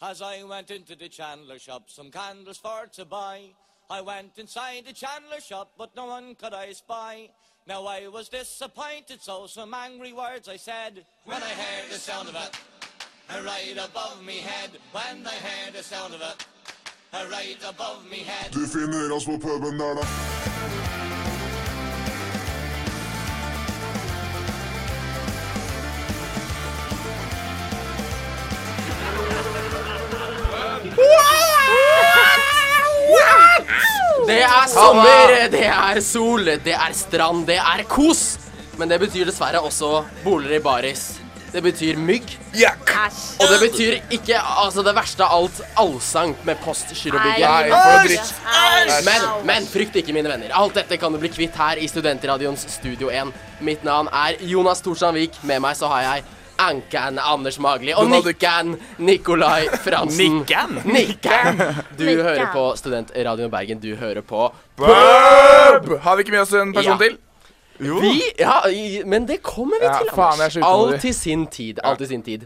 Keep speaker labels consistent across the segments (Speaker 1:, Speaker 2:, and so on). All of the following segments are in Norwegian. Speaker 1: As I went into the chandler shop, some candles for to buy. I went inside the chandler shop, but no one could I spy. Now I was disappointed, so some angry words I said. When I heard the sound of it, uh, right above me head. When I heard the sound of it, uh, right above me head.
Speaker 2: Du finner oss på puben der, da.
Speaker 3: Det er sommer, det er sol, det er strand, det er kos. Men det betyr dessverre også boliger i baris. Det betyr mygg.
Speaker 4: Æsj.
Speaker 3: Og det betyr ikke altså det verste av alt allsang med
Speaker 4: Nei,
Speaker 3: postgirobygget.
Speaker 4: for noe
Speaker 5: Æsj!
Speaker 4: dritt.
Speaker 5: Æsj!
Speaker 3: Men, men frykt ikke, mine venner. Alt dette kan du bli kvitt her i Studentradioens Studio 1. Mitt navn er Jonas Thorsand Vik. Med meg så har jeg Ankan Anders Magli og
Speaker 6: Donald Duck.
Speaker 3: Nikkan Nikolai Fransen.
Speaker 6: Nikkan?
Speaker 3: Nikkan! Du
Speaker 4: Nikkan.
Speaker 3: hører på Studentradioen Bergen. Du hører på
Speaker 6: Pub! Har vi ikke med oss en person
Speaker 3: Ja.
Speaker 6: til? Jo.
Speaker 3: Vi, ja, i- men det kommer vi
Speaker 6: Ja,
Speaker 3: til,
Speaker 6: faen, jeg er
Speaker 3: Anders.
Speaker 6: så utålmodig.
Speaker 3: Alt til sin tid. Alt til sin tid.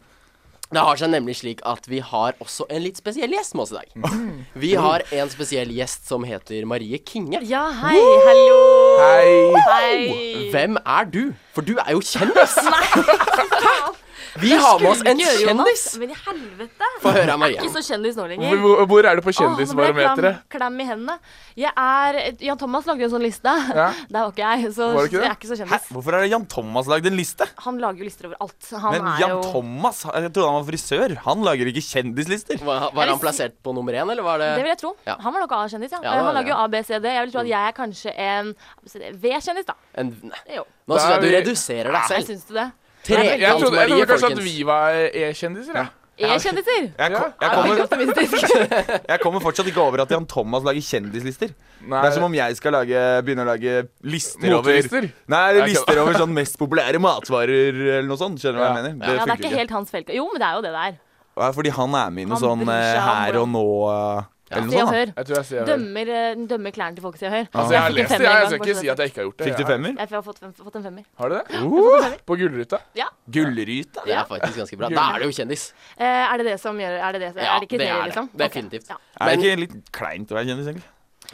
Speaker 3: Det har seg nemlig slik at vi har også en litt spesiell gjest med oss i dag.
Speaker 6: Mm.
Speaker 3: Vi har en spesiell gjest som heter Marie Kinge.
Speaker 4: Ja, hei. Hallo.
Speaker 6: Hei.
Speaker 4: Hei.
Speaker 3: Hvem er du? For du er jo kjendis.
Speaker 4: Faen,
Speaker 3: Vi har med oss en
Speaker 4: skulle gjøre, Jonas.
Speaker 3: kjendis.
Speaker 4: Men i helvete.
Speaker 3: Få høre, Marie.
Speaker 4: Ikke så kjendis nå lenger.
Speaker 6: Hvor, hvor- hvor er du på
Speaker 4: Åh, nå ble
Speaker 6: kjendisbarometeret?
Speaker 4: jeg Klem, klem i hendene. Jeg er Jan Thomas lagde jo en sånn liste.
Speaker 6: Ja.
Speaker 4: Der var ikke jeg, så
Speaker 6: Var det ikke det?
Speaker 4: jeg er ikke så
Speaker 5: Hæ?
Speaker 4: kjendis.
Speaker 5: Hvorfor har Jan Thomas lagd en liste?
Speaker 4: Han lager jo lister over alt. Han
Speaker 5: Men
Speaker 4: er
Speaker 5: Jan
Speaker 4: jo
Speaker 5: Thomas, jeg trodde han var frisør. Han lager ikke kjendislister.
Speaker 3: Var, var han plassert på nummer én, eller var
Speaker 4: Det vil
Speaker 3: det
Speaker 4: jeg tro.
Speaker 3: Ja.
Speaker 4: Han var nok A-kjendis, ja.
Speaker 3: Ja, det var
Speaker 4: han
Speaker 3: det,
Speaker 4: lager jo A, B, C, D. Jeg vil tro at jeg er kanskje en V-kjendis, da.
Speaker 3: en
Speaker 4: Det er jo.
Speaker 3: Nå syns jeg du
Speaker 6: Da er vi-
Speaker 3: reduserer deg
Speaker 4: Jeg
Speaker 3: selv.
Speaker 4: syns du det.
Speaker 6: Jeg trodde, jeg
Speaker 3: Trekant-Marie,
Speaker 6: trodde kanskje at
Speaker 3: folkens.
Speaker 6: vi var E-kjendiser. Ja.
Speaker 4: E-kjendiser.
Speaker 5: Jeg, ko
Speaker 6: Ja.
Speaker 5: jeg,
Speaker 4: Jeg er veldig
Speaker 5: kommer,
Speaker 4: optimistisk.
Speaker 5: jeg kommer fortsatt ikke over at Jan Thomas lager kjendislister. Det er som om jeg skal lage, begynne å lage lister over
Speaker 6: Motelister?
Speaker 5: Nei,
Speaker 6: Jeg
Speaker 5: lister
Speaker 6: kødder.
Speaker 5: over sånn mest populære matvarer eller noe sånt. Skjønner du hva jeg
Speaker 6: Ja.
Speaker 5: mener?
Speaker 4: Ja, det er
Speaker 5: funker
Speaker 4: ikke helt hans felt. Jo, men det er jo det det er.
Speaker 5: Ja, fordi han er med i noe
Speaker 4: Han
Speaker 5: sånn
Speaker 4: bryr seg
Speaker 5: eh,
Speaker 4: om
Speaker 5: her og
Speaker 4: hvordan-
Speaker 5: nå eh, eller
Speaker 4: Se
Speaker 5: noe
Speaker 4: og
Speaker 5: sånt. da.
Speaker 4: hør.
Speaker 6: Jeg tror jeg sier det.
Speaker 4: Dømmer, eh, dømmer klærne til folk, se og hør.
Speaker 6: Altså, jeg har
Speaker 4: fikk en
Speaker 6: lest det.
Speaker 4: femmer en
Speaker 6: Jeg,
Speaker 4: gang,
Speaker 6: skal
Speaker 4: bare
Speaker 6: ikke
Speaker 4: så
Speaker 6: si
Speaker 4: det
Speaker 6: at jeg ikke har gjort det.
Speaker 5: Fikk du
Speaker 6: Jeg-
Speaker 5: femmer?
Speaker 4: Jeg har fått fem- fått en femmer.
Speaker 6: Har du det?
Speaker 5: Uh,
Speaker 6: På Gullruta?
Speaker 4: Ja.
Speaker 5: Gullryta.
Speaker 3: Det er faktisk ganske bra. Da er du jo kjendis.
Speaker 4: Eh, Er det det som gjør Er det det, er det kriterier, liksom? Ok.
Speaker 3: Definitivt.
Speaker 4: Ja.
Speaker 5: Er
Speaker 3: Men-
Speaker 5: det ikke litt kleint å være kjendis, egentlig?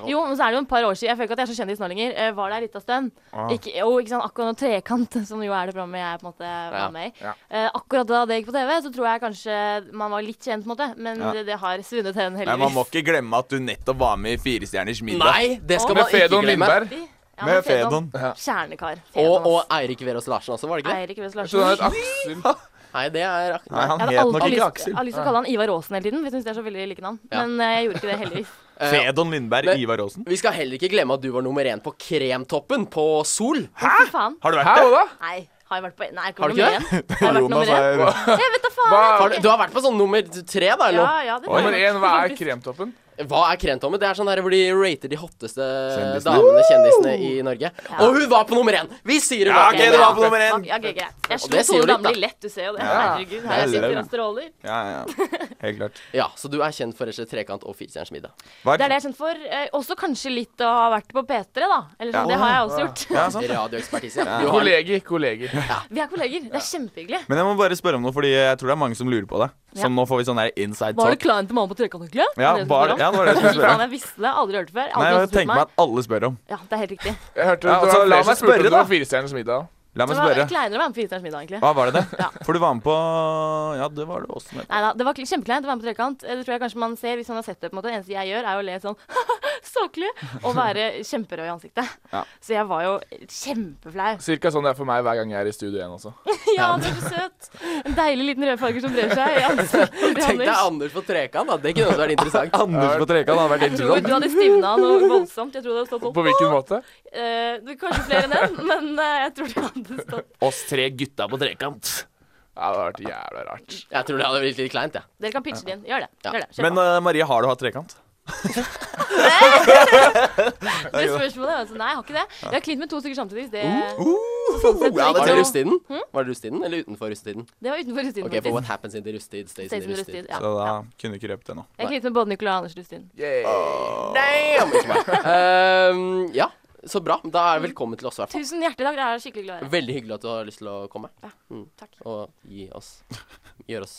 Speaker 4: Jo, men så er det jo et par år siden. Jeg føler ikke at jeg er så kjendis nå lenger. Eh, var der litt av stund. Ikke, jo, ikke sant, akkurat nå Trekant, som jo er det programmet jeg på en måte var med i.
Speaker 6: Ja.
Speaker 4: Eh, akkurat da det gikk på TV, så tror jeg kanskje man var litt kjent, på en måte. Men
Speaker 5: Ja.
Speaker 4: det, det har svunnet hen,
Speaker 5: Nei, Man må
Speaker 4: heldigvis.
Speaker 5: ikke glemme at du nettopp var med i Firestjerners middag.
Speaker 3: Nei, det skal
Speaker 4: Åh.
Speaker 3: man
Speaker 6: Med
Speaker 3: ikke
Speaker 6: Fedon
Speaker 3: glemme.
Speaker 6: Lindberg?
Speaker 4: Ja, men
Speaker 5: Med
Speaker 4: sånn. Fedon.
Speaker 5: Fedon.
Speaker 4: Kjernekar.
Speaker 3: Og, og Eirik Verås Larsen også, var det ikke det?
Speaker 4: Eirik Wess
Speaker 6: Så han het
Speaker 4: Larsen.
Speaker 6: Aksel
Speaker 3: Nei, det er ak-
Speaker 5: Nei, han
Speaker 4: Jeg hadde
Speaker 5: het nok
Speaker 4: alltid
Speaker 5: ikke
Speaker 4: lyst, jeg
Speaker 5: Aksel.
Speaker 4: hadde lyst til å kalle han Ivar Aasen hele tiden. for Jeg synes det er så veldig like navn.
Speaker 3: Ja.
Speaker 4: Men eh, jeg gjorde ikke det, heldigvis.
Speaker 3: Eh,
Speaker 5: Fedon Lindberg,
Speaker 3: Men-
Speaker 5: Ivar Aasen.
Speaker 3: Vi skal heller ikke glemme at du var nummer én på Kremtoppen på Sol.
Speaker 4: Hæ? Faen.
Speaker 5: Har du
Speaker 6: Hæ,
Speaker 5: vært det?
Speaker 6: hva da?
Speaker 4: Nei, har jeg vært på Nei, jeg
Speaker 3: Har
Speaker 4: kommer
Speaker 3: du ikke
Speaker 4: nummer én. Har jeg vært nummer én? Jeg vet da faen.
Speaker 6: Hva-
Speaker 4: jeg
Speaker 3: Har
Speaker 4: tror
Speaker 3: du,
Speaker 4: ikke-
Speaker 3: du har vært på sånn nummer tre, da? Eller?
Speaker 4: Ja,
Speaker 3: noe?
Speaker 4: ja, det tror jeg
Speaker 6: Nummer
Speaker 4: jeg
Speaker 6: én,
Speaker 4: har
Speaker 6: hva
Speaker 4: vært
Speaker 6: er
Speaker 4: på, faktisk.
Speaker 6: kremtoppen?
Speaker 3: Hva er Kremtommen? Det er sånn der hvor de rater de hotteste
Speaker 5: Kjendisene.
Speaker 3: damene, kjendisene i Norge. Og hun var på nummer én! Vi sier hun
Speaker 5: Ja,
Speaker 3: var
Speaker 5: ok,
Speaker 3: på
Speaker 5: det
Speaker 3: nummer
Speaker 5: var
Speaker 3: én.
Speaker 5: på nummer én.
Speaker 4: Ja, ok, greit. Jeg
Speaker 3: Og
Speaker 4: slo
Speaker 3: det sier
Speaker 4: Tore
Speaker 3: jo litt, da.
Speaker 4: Damli lett, du ser jo det. Herregud, her
Speaker 5: Jeg
Speaker 4: jeg
Speaker 5: lever.
Speaker 4: sitter og stråler.
Speaker 5: Ja, ja, ja. Helt klart.
Speaker 3: Ja, Så du er kjent for rett og slett Trekant og Firestjerners middag.
Speaker 5: Hva
Speaker 4: Det er det jeg er kjent for. Eh, også kanskje litt å ha vært på P3, da. Eller sånn, Det har jeg også gjort.
Speaker 5: Ja, sant.
Speaker 3: Radioekspertise.
Speaker 5: Ja.
Speaker 3: Du har-
Speaker 6: Kolleger, kolleger.
Speaker 4: Vi er kolleger. Det er kjempehyggelig.
Speaker 5: Men jeg må bare spørre om noe, fordi jeg tror det er mange som lurer på det.
Speaker 4: Ja.
Speaker 5: Som nå får vi sånn der inside
Speaker 4: Var det
Speaker 5: talk.
Speaker 4: kleint til mannen på trekant, egentlig?
Speaker 5: Ja,
Speaker 4: Er det det du
Speaker 5: var-
Speaker 4: spør om?
Speaker 5: ja, det var det jeg skulle spørre
Speaker 4: Faen,
Speaker 5: om.
Speaker 4: Jeg visste det. Aldri hørt det før.
Speaker 5: Nei,
Speaker 4: Aldri
Speaker 5: jeg tenker meg at alle spør om.
Speaker 4: Ja, det er helt riktig.
Speaker 6: Jeg hørte
Speaker 5: Ja,
Speaker 6: det
Speaker 5: altså,
Speaker 6: var
Speaker 5: la
Speaker 6: flere som
Speaker 5: meg
Speaker 6: spurte om
Speaker 5: spørre,
Speaker 6: det var
Speaker 5: da.
Speaker 6: Firestjerners middag.
Speaker 5: La
Speaker 4: Det
Speaker 5: meg
Speaker 4: var
Speaker 5: spørre.
Speaker 4: kleinere å være med på Firestjerners middag, egentlig.
Speaker 5: Hva var det det?
Speaker 4: Ja.
Speaker 5: For du var med på Ja, det var det også. Med.
Speaker 4: Nei da, det var kle- kjempekleint å være med på trekant. Eh, Det tror jeg kanskje man ser hvis man har sett det. på en måte. Det eneste jeg gjør, er å le sånn saklig og være kjemperød i ansiktet.
Speaker 5: Ja.
Speaker 4: Så jeg var jo kjempeflau.
Speaker 6: Cirka sånn det er for meg hver gang jeg er i Studio 1 også.
Speaker 4: Ja, du er så søt. En deilig liten rødfarger som brer seg i ansiktet.
Speaker 3: Tenk deg
Speaker 4: Anders.
Speaker 3: Anders på Trekant, da. Det kunne også vært interessant.
Speaker 5: Anders på Trekant hadde vært
Speaker 3: liksom.
Speaker 4: Jeg tror
Speaker 5: interessant.
Speaker 4: du hadde stivna noe voldsomt. Jeg tror det hadde
Speaker 6: På
Speaker 4: stått sånn.
Speaker 6: hvilken måte?
Speaker 4: Eh, det er kanskje flere enn den, men eh, jeg tror det hadde stått.
Speaker 5: Oss tre gutta på Trekant.
Speaker 6: Ja, det hadde vært jævla rart.
Speaker 3: Jeg tror det hadde blitt litt kleint, jeg.
Speaker 4: Dere kan pitche det inn. Gjør det. Gjør det. Kjør
Speaker 5: Men
Speaker 4: på.
Speaker 5: eh, Marie, har du hatt trekant?
Speaker 4: Det spørsmålet er altså nei, jeg har ikke det. Jeg har klint med to stykker samtidig. Det,
Speaker 3: Ja, var det
Speaker 4: ikke-
Speaker 3: rusttiden?
Speaker 4: Hm?
Speaker 3: Var det rusttiden eller utenfor rusttiden?
Speaker 4: det var utenfor rusttiden,
Speaker 3: Ok, for
Speaker 4: faktisk.
Speaker 3: what happens in the rusttid stays in
Speaker 4: Stays
Speaker 3: the
Speaker 4: in
Speaker 3: rusttid.
Speaker 4: rusttid. Ja.
Speaker 5: Så da
Speaker 4: ja.
Speaker 5: kunne du ikke røpt det nå.
Speaker 4: Jeg klinte med både Nicolai og Anders Rustin.
Speaker 6: Yeah.
Speaker 3: Damn! Ikke meg. Ehm, ja, Så bra. Da er velkommen til oss, i hvert fall.
Speaker 4: Mm. Tusen hjertelig takk, det er skikkelig glad i deg.
Speaker 3: Veldig hyggelig at du har lyst til å komme Mm.
Speaker 4: Takk.
Speaker 3: og gi oss Gjøre oss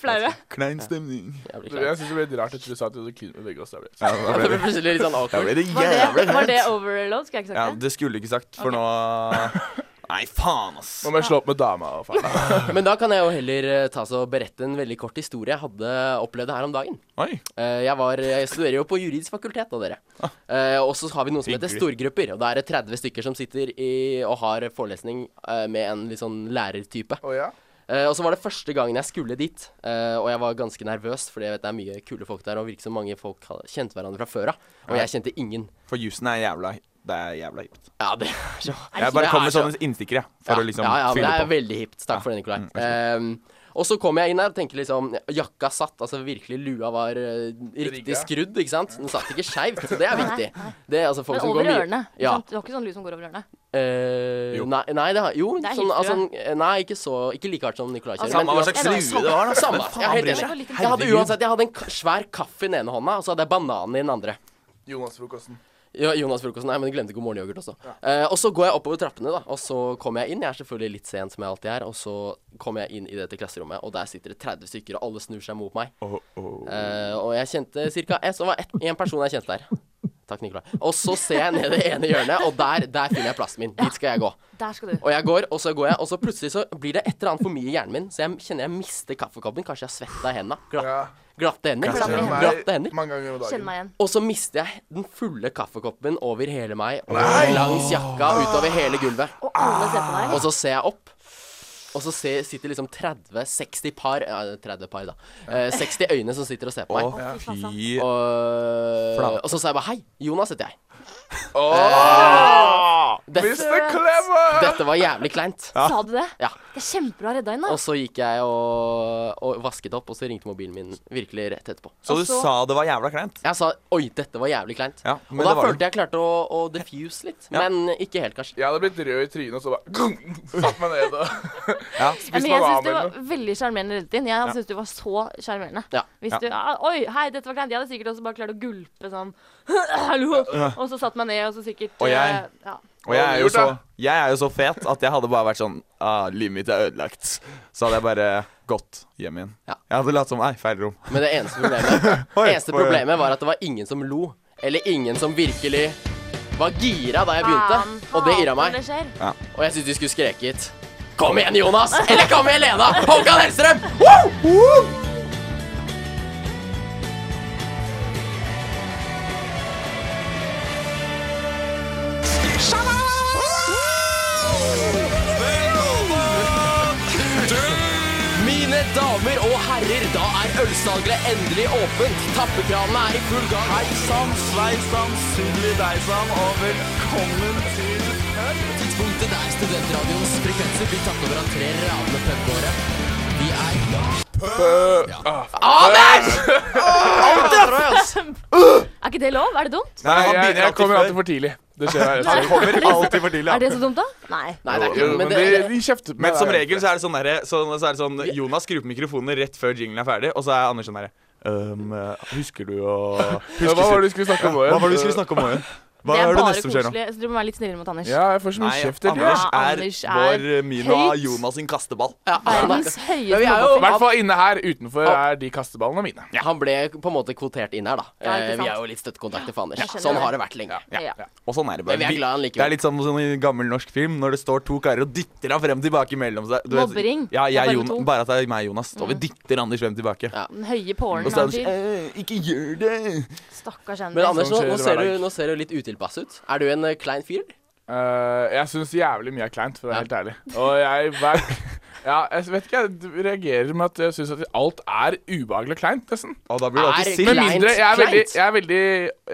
Speaker 4: Flaue.
Speaker 3: Altså,
Speaker 5: Klein stemning.
Speaker 3: jævlig
Speaker 6: Du,
Speaker 3: kleine.
Speaker 6: Jeg syns det ble litt rart etter du sa at du kunne velge oss. Da ble det.
Speaker 5: Ja,
Speaker 3: Det
Speaker 5: da
Speaker 3: blir
Speaker 5: ble det,
Speaker 3: plutselig litt sånn
Speaker 5: da
Speaker 3: awkward.
Speaker 5: ble det
Speaker 4: Var det,
Speaker 5: jævlig
Speaker 4: var det
Speaker 5: kleint.
Speaker 4: overload? Skal jeg ikke
Speaker 5: Ja,
Speaker 4: sagt det?
Speaker 5: det skulle du ikke sagt, for nå Nei, faen, ass.
Speaker 6: Nå må jeg slå opp med dama og faen.
Speaker 3: Men da kan jeg jo heller eh, ta så berette en veldig kort historie jeg hadde opplevd her om dagen.
Speaker 5: Oi.
Speaker 3: Eh, Jeg, var, jeg studerer jo på juridisk fakultet da, dere. Eh, Og så har vi noe som heter
Speaker 5: Hyggelig.
Speaker 3: storgrupper. Og da er det 30 stykker som sitter i, og har forelesning eh, med en litt sånn lærertype.
Speaker 6: Å ja?
Speaker 3: Eh, Og så var det første gangen jeg skulle dit, eh, og jeg var ganske nervøs, fordi jeg vet det er mye kule folk der, og virker som mange folk har- kjente hverandre fra før av. Og jeg kjente ingen.
Speaker 5: For jusen er jævla Det er jævla hipt.
Speaker 3: Ja, det er så
Speaker 5: Jeg bare
Speaker 3: det
Speaker 5: kom
Speaker 3: er
Speaker 5: med
Speaker 3: så-
Speaker 5: sånne innstikkere for å liksom
Speaker 3: ja, ja, men
Speaker 5: fylle
Speaker 3: det er
Speaker 5: på. Mm,
Speaker 3: veldig hipt. Takk for det, Nikolai. Ehm, og så kom jeg inn her og tenkte liksom Jakka satt, altså virkelig lua var eh, riktig
Speaker 6: Rigga.
Speaker 3: skrudd, ikke sant? Den satt ikke skeivt, så det er viktig. Det er altså folk
Speaker 4: Men
Speaker 3: som går
Speaker 4: over
Speaker 3: mye
Speaker 4: ørene. ikke
Speaker 3: Ja.
Speaker 4: sant? Det var ikke sånn lyd som går over ørene.
Speaker 3: Eh,
Speaker 5: Jo.
Speaker 3: Nei, nei, det har Jo,
Speaker 4: Det
Speaker 3: sånn
Speaker 4: er hipt,
Speaker 3: altså
Speaker 4: tror Altså,
Speaker 3: Nei, ikke så Ikke like hardt som Nikolai kjører.
Speaker 5: Samme
Speaker 3: men
Speaker 5: hva
Speaker 3: uansett-
Speaker 5: slags
Speaker 4: Ja, det
Speaker 5: lue
Speaker 4: var
Speaker 5: det var, da.
Speaker 3: Samme.
Speaker 5: Men faen,
Speaker 3: Jeg er helt
Speaker 5: bryr
Speaker 3: enig.
Speaker 5: seg.
Speaker 4: Jeg
Speaker 3: Jeg hadde
Speaker 5: Herregud.
Speaker 3: uansett Jeg hadde en k svær kaffe i den ene hånda, og så hadde jeg bananen i den andre.
Speaker 6: Jonas-frokosten.
Speaker 3: Ja, Jonas frokosten. Nei, men du glemte god morgen-yoghurt også. Eh, og så går jeg oppover trappene, da. Og så kommer jeg inn. Jeg er selvfølgelig litt sen, som jeg alltid er. Og så kommer jeg inn i dette klasserommet, og der sitter det 30 stykker, og alle snur seg mot meg. Eh, og jeg kjente cirka eh, Så det var én person jeg kjente der. Takk, Nicolai. Og så ser jeg ned i det ene hjørnet, og der, der finner jeg plassen min. Dit skal jeg gå.
Speaker 4: Der skal du.
Speaker 3: Og jeg går, og så går jeg, og så plutselig så blir det et eller annet for mye i hjernen min, så jeg kjenner jeg mister kaffekoppen. Kanskje jeg har svetta i henda. Glatt,
Speaker 6: Ja.
Speaker 3: glatte hender.
Speaker 5: Glatte
Speaker 3: Glatte
Speaker 6: Meg
Speaker 3: hender. Glatte hender.
Speaker 6: Mange ganger om
Speaker 4: Kjenn
Speaker 6: dagen.
Speaker 4: meg igjen.
Speaker 3: Og så mister jeg den fulle kaffekoppen over hele meg og langs jakka utover hele gulvet.
Speaker 4: Og alle ser på deg.
Speaker 3: Og så ser jeg opp, og så ser, sitter liksom 30-60 par ja, 30 par, da. Eh, 60 øyne som sitter og ser på
Speaker 5: Å,
Speaker 3: meg. eh,
Speaker 5: fy
Speaker 3: Og,
Speaker 5: Flate.
Speaker 3: og så sa jeg bare Hei, Jonas heter jeg. Dette,
Speaker 6: Mr. Clever!
Speaker 3: dette var jævlig kleint.
Speaker 4: Sa du det?
Speaker 3: Ja.
Speaker 4: Det er kjempebra redda inn, da.
Speaker 3: Og så gikk jeg og, og vasket opp, og så ringte mobilen min virkelig rett etterpå.
Speaker 5: Så du
Speaker 4: Og så-
Speaker 5: sa det var jævla kleint?
Speaker 3: Jeg sa oi, dette var jævlig kleint.
Speaker 5: Ja,
Speaker 3: og
Speaker 5: men
Speaker 3: da
Speaker 5: det var
Speaker 3: følte jeg klarte å, å diffuse litt.
Speaker 5: Ja.
Speaker 3: Men ikke helt, kanskje.
Speaker 6: Jeg hadde blitt rød i trynet og så bare Satt meg ned og
Speaker 4: Ja, men
Speaker 6: spist
Speaker 4: jeg syns
Speaker 6: banan
Speaker 4: du
Speaker 6: eller
Speaker 4: var
Speaker 6: noe.
Speaker 4: veldig sjarmerende reddet inn. Jeg synes du var så sjarmerende.
Speaker 3: Ja.
Speaker 4: Hvis
Speaker 5: Ja.
Speaker 4: du ah, Oi, hei, dette var kleint. Jeg hadde sikkert også bare klart å gulpe sånn Hallo! Og så satt meg ned, og så sikkert
Speaker 5: Og jeg-
Speaker 4: eh, ja.
Speaker 5: Og jeg er jo
Speaker 6: Gjort
Speaker 5: så,
Speaker 6: det.
Speaker 5: jeg er jo så fet at jeg hadde bare vært sånn ah, Livet mitt er ødelagt. Så hadde jeg bare gått hjem igjen.
Speaker 3: Ja.
Speaker 5: Jeg hadde latt som Nei, feil rom.
Speaker 3: Men det eneste problemet,
Speaker 5: Oi,
Speaker 3: eneste
Speaker 5: oi, oi.
Speaker 3: problemet var at det var ingen som lo. Eller ingen som virkelig var gira da jeg begynte. Og det irra meg. Og jeg syntes de skulle skreket Kom igjen, Jonas! Eller kom igjen, Lena! Håkan Hellstrøm! Woo! Woo! Mine damer og herrer, da er ølsalget endelig åpent. Tappekranene er i full gang. Hei sann, sveisann, sulli deg sann, og velkommen til øl. Tidspunktet der studentradioens frekvenser blir tatt over av tre radende pubgåere. Vi er Anders!
Speaker 4: Er ikke det lov? Er det dumt?
Speaker 5: Nei,
Speaker 6: Nei,
Speaker 5: han
Speaker 6: jeg,
Speaker 5: begynner
Speaker 6: jeg kommer alltid
Speaker 5: alltid før.
Speaker 6: for tidlig. Det skjer her.
Speaker 5: Han kommer alltid for tidlig.
Speaker 4: Er det
Speaker 5: ja.
Speaker 4: så dumt, da? Nei.
Speaker 3: Nei, det er
Speaker 6: Jo,
Speaker 3: ikke
Speaker 6: men
Speaker 3: men
Speaker 6: de,
Speaker 3: det, det,
Speaker 6: de kjefter på meg
Speaker 5: Men som
Speaker 6: hver gang.
Speaker 5: regel så er det sånn derre så, så er det sånn Jonas skrur på mikrofonen rett før jinglen er ferdig, og så er Anders sånn derre «Øhm, eh, Husker du å
Speaker 6: Ja, Hva
Speaker 5: husker,
Speaker 6: var det du skulle snakke om nå
Speaker 5: Hva
Speaker 6: igjen?
Speaker 5: var det du skulle snakke om nå igjen? Hva
Speaker 4: det er
Speaker 5: er det
Speaker 4: bare
Speaker 5: neste som skjer nå?
Speaker 4: koselig. Så du må være litt snillere mot Anders.
Speaker 6: Ja, jeg får så mye
Speaker 5: Nei,
Speaker 6: kjeft hele
Speaker 5: Anders
Speaker 6: tiden.
Speaker 4: Ja,
Speaker 5: er
Speaker 4: Anders er
Speaker 5: vår eh, min og
Speaker 4: høyt.
Speaker 5: Jonas sin kasteball.
Speaker 3: Men
Speaker 4: Verdens
Speaker 3: vi
Speaker 4: høyeste
Speaker 3: er
Speaker 6: I
Speaker 3: jo-
Speaker 6: hvert fall inne her. Utenfor er de kasteballene mine.
Speaker 3: Han ble på en måte kvotert inn her, da.
Speaker 4: Ja, ikke
Speaker 3: Eh, vi
Speaker 4: sant.
Speaker 3: er jo litt støttekontakter for Anders.
Speaker 4: jeg skjønner
Speaker 3: Sånn
Speaker 4: det.
Speaker 3: har det vært lenge.
Speaker 4: Ja.
Speaker 5: Og sånn er det bare.
Speaker 3: Men vi er glad han likevel.
Speaker 5: Det er litt sånn som i gammel norsk film, når det står to karer og dytter han frem tilbake mellom seg. Du vet-
Speaker 4: Mobbering.
Speaker 5: Ja,
Speaker 4: Det er bare
Speaker 5: jeg, bare,
Speaker 4: to.
Speaker 5: Jon, bare at det er meg og Jonas. Og vi dytter Anders frem tilbake.
Speaker 3: Ja.
Speaker 4: Den høye pålen.
Speaker 5: Og
Speaker 4: han
Speaker 5: så er Anders
Speaker 4: fyr.
Speaker 5: «Eh, Ikke gjør det!
Speaker 4: Stakkars Anders.
Speaker 3: Men Anders, nå,
Speaker 5: Sånn
Speaker 6: skjer
Speaker 3: nå,
Speaker 6: hver
Speaker 3: ser du,
Speaker 6: dag.
Speaker 3: nå ser du litt utilpass ut. Er du en eh, klein fyr? eller?
Speaker 6: Eh, jeg syns jævlig mye er kleint, for å være helt ærlig. Og jeg hver, ja, jeg vet ikke, jeg d- reagerer med at jeg syns at alt er ubehagelig og kleint, nesten.
Speaker 5: Og da blir du
Speaker 3: Er
Speaker 5: alltid
Speaker 6: Med
Speaker 5: sint.
Speaker 3: Kleint,
Speaker 6: mindre jeg er,
Speaker 3: kleint.
Speaker 6: veldig, jeg, er veldig,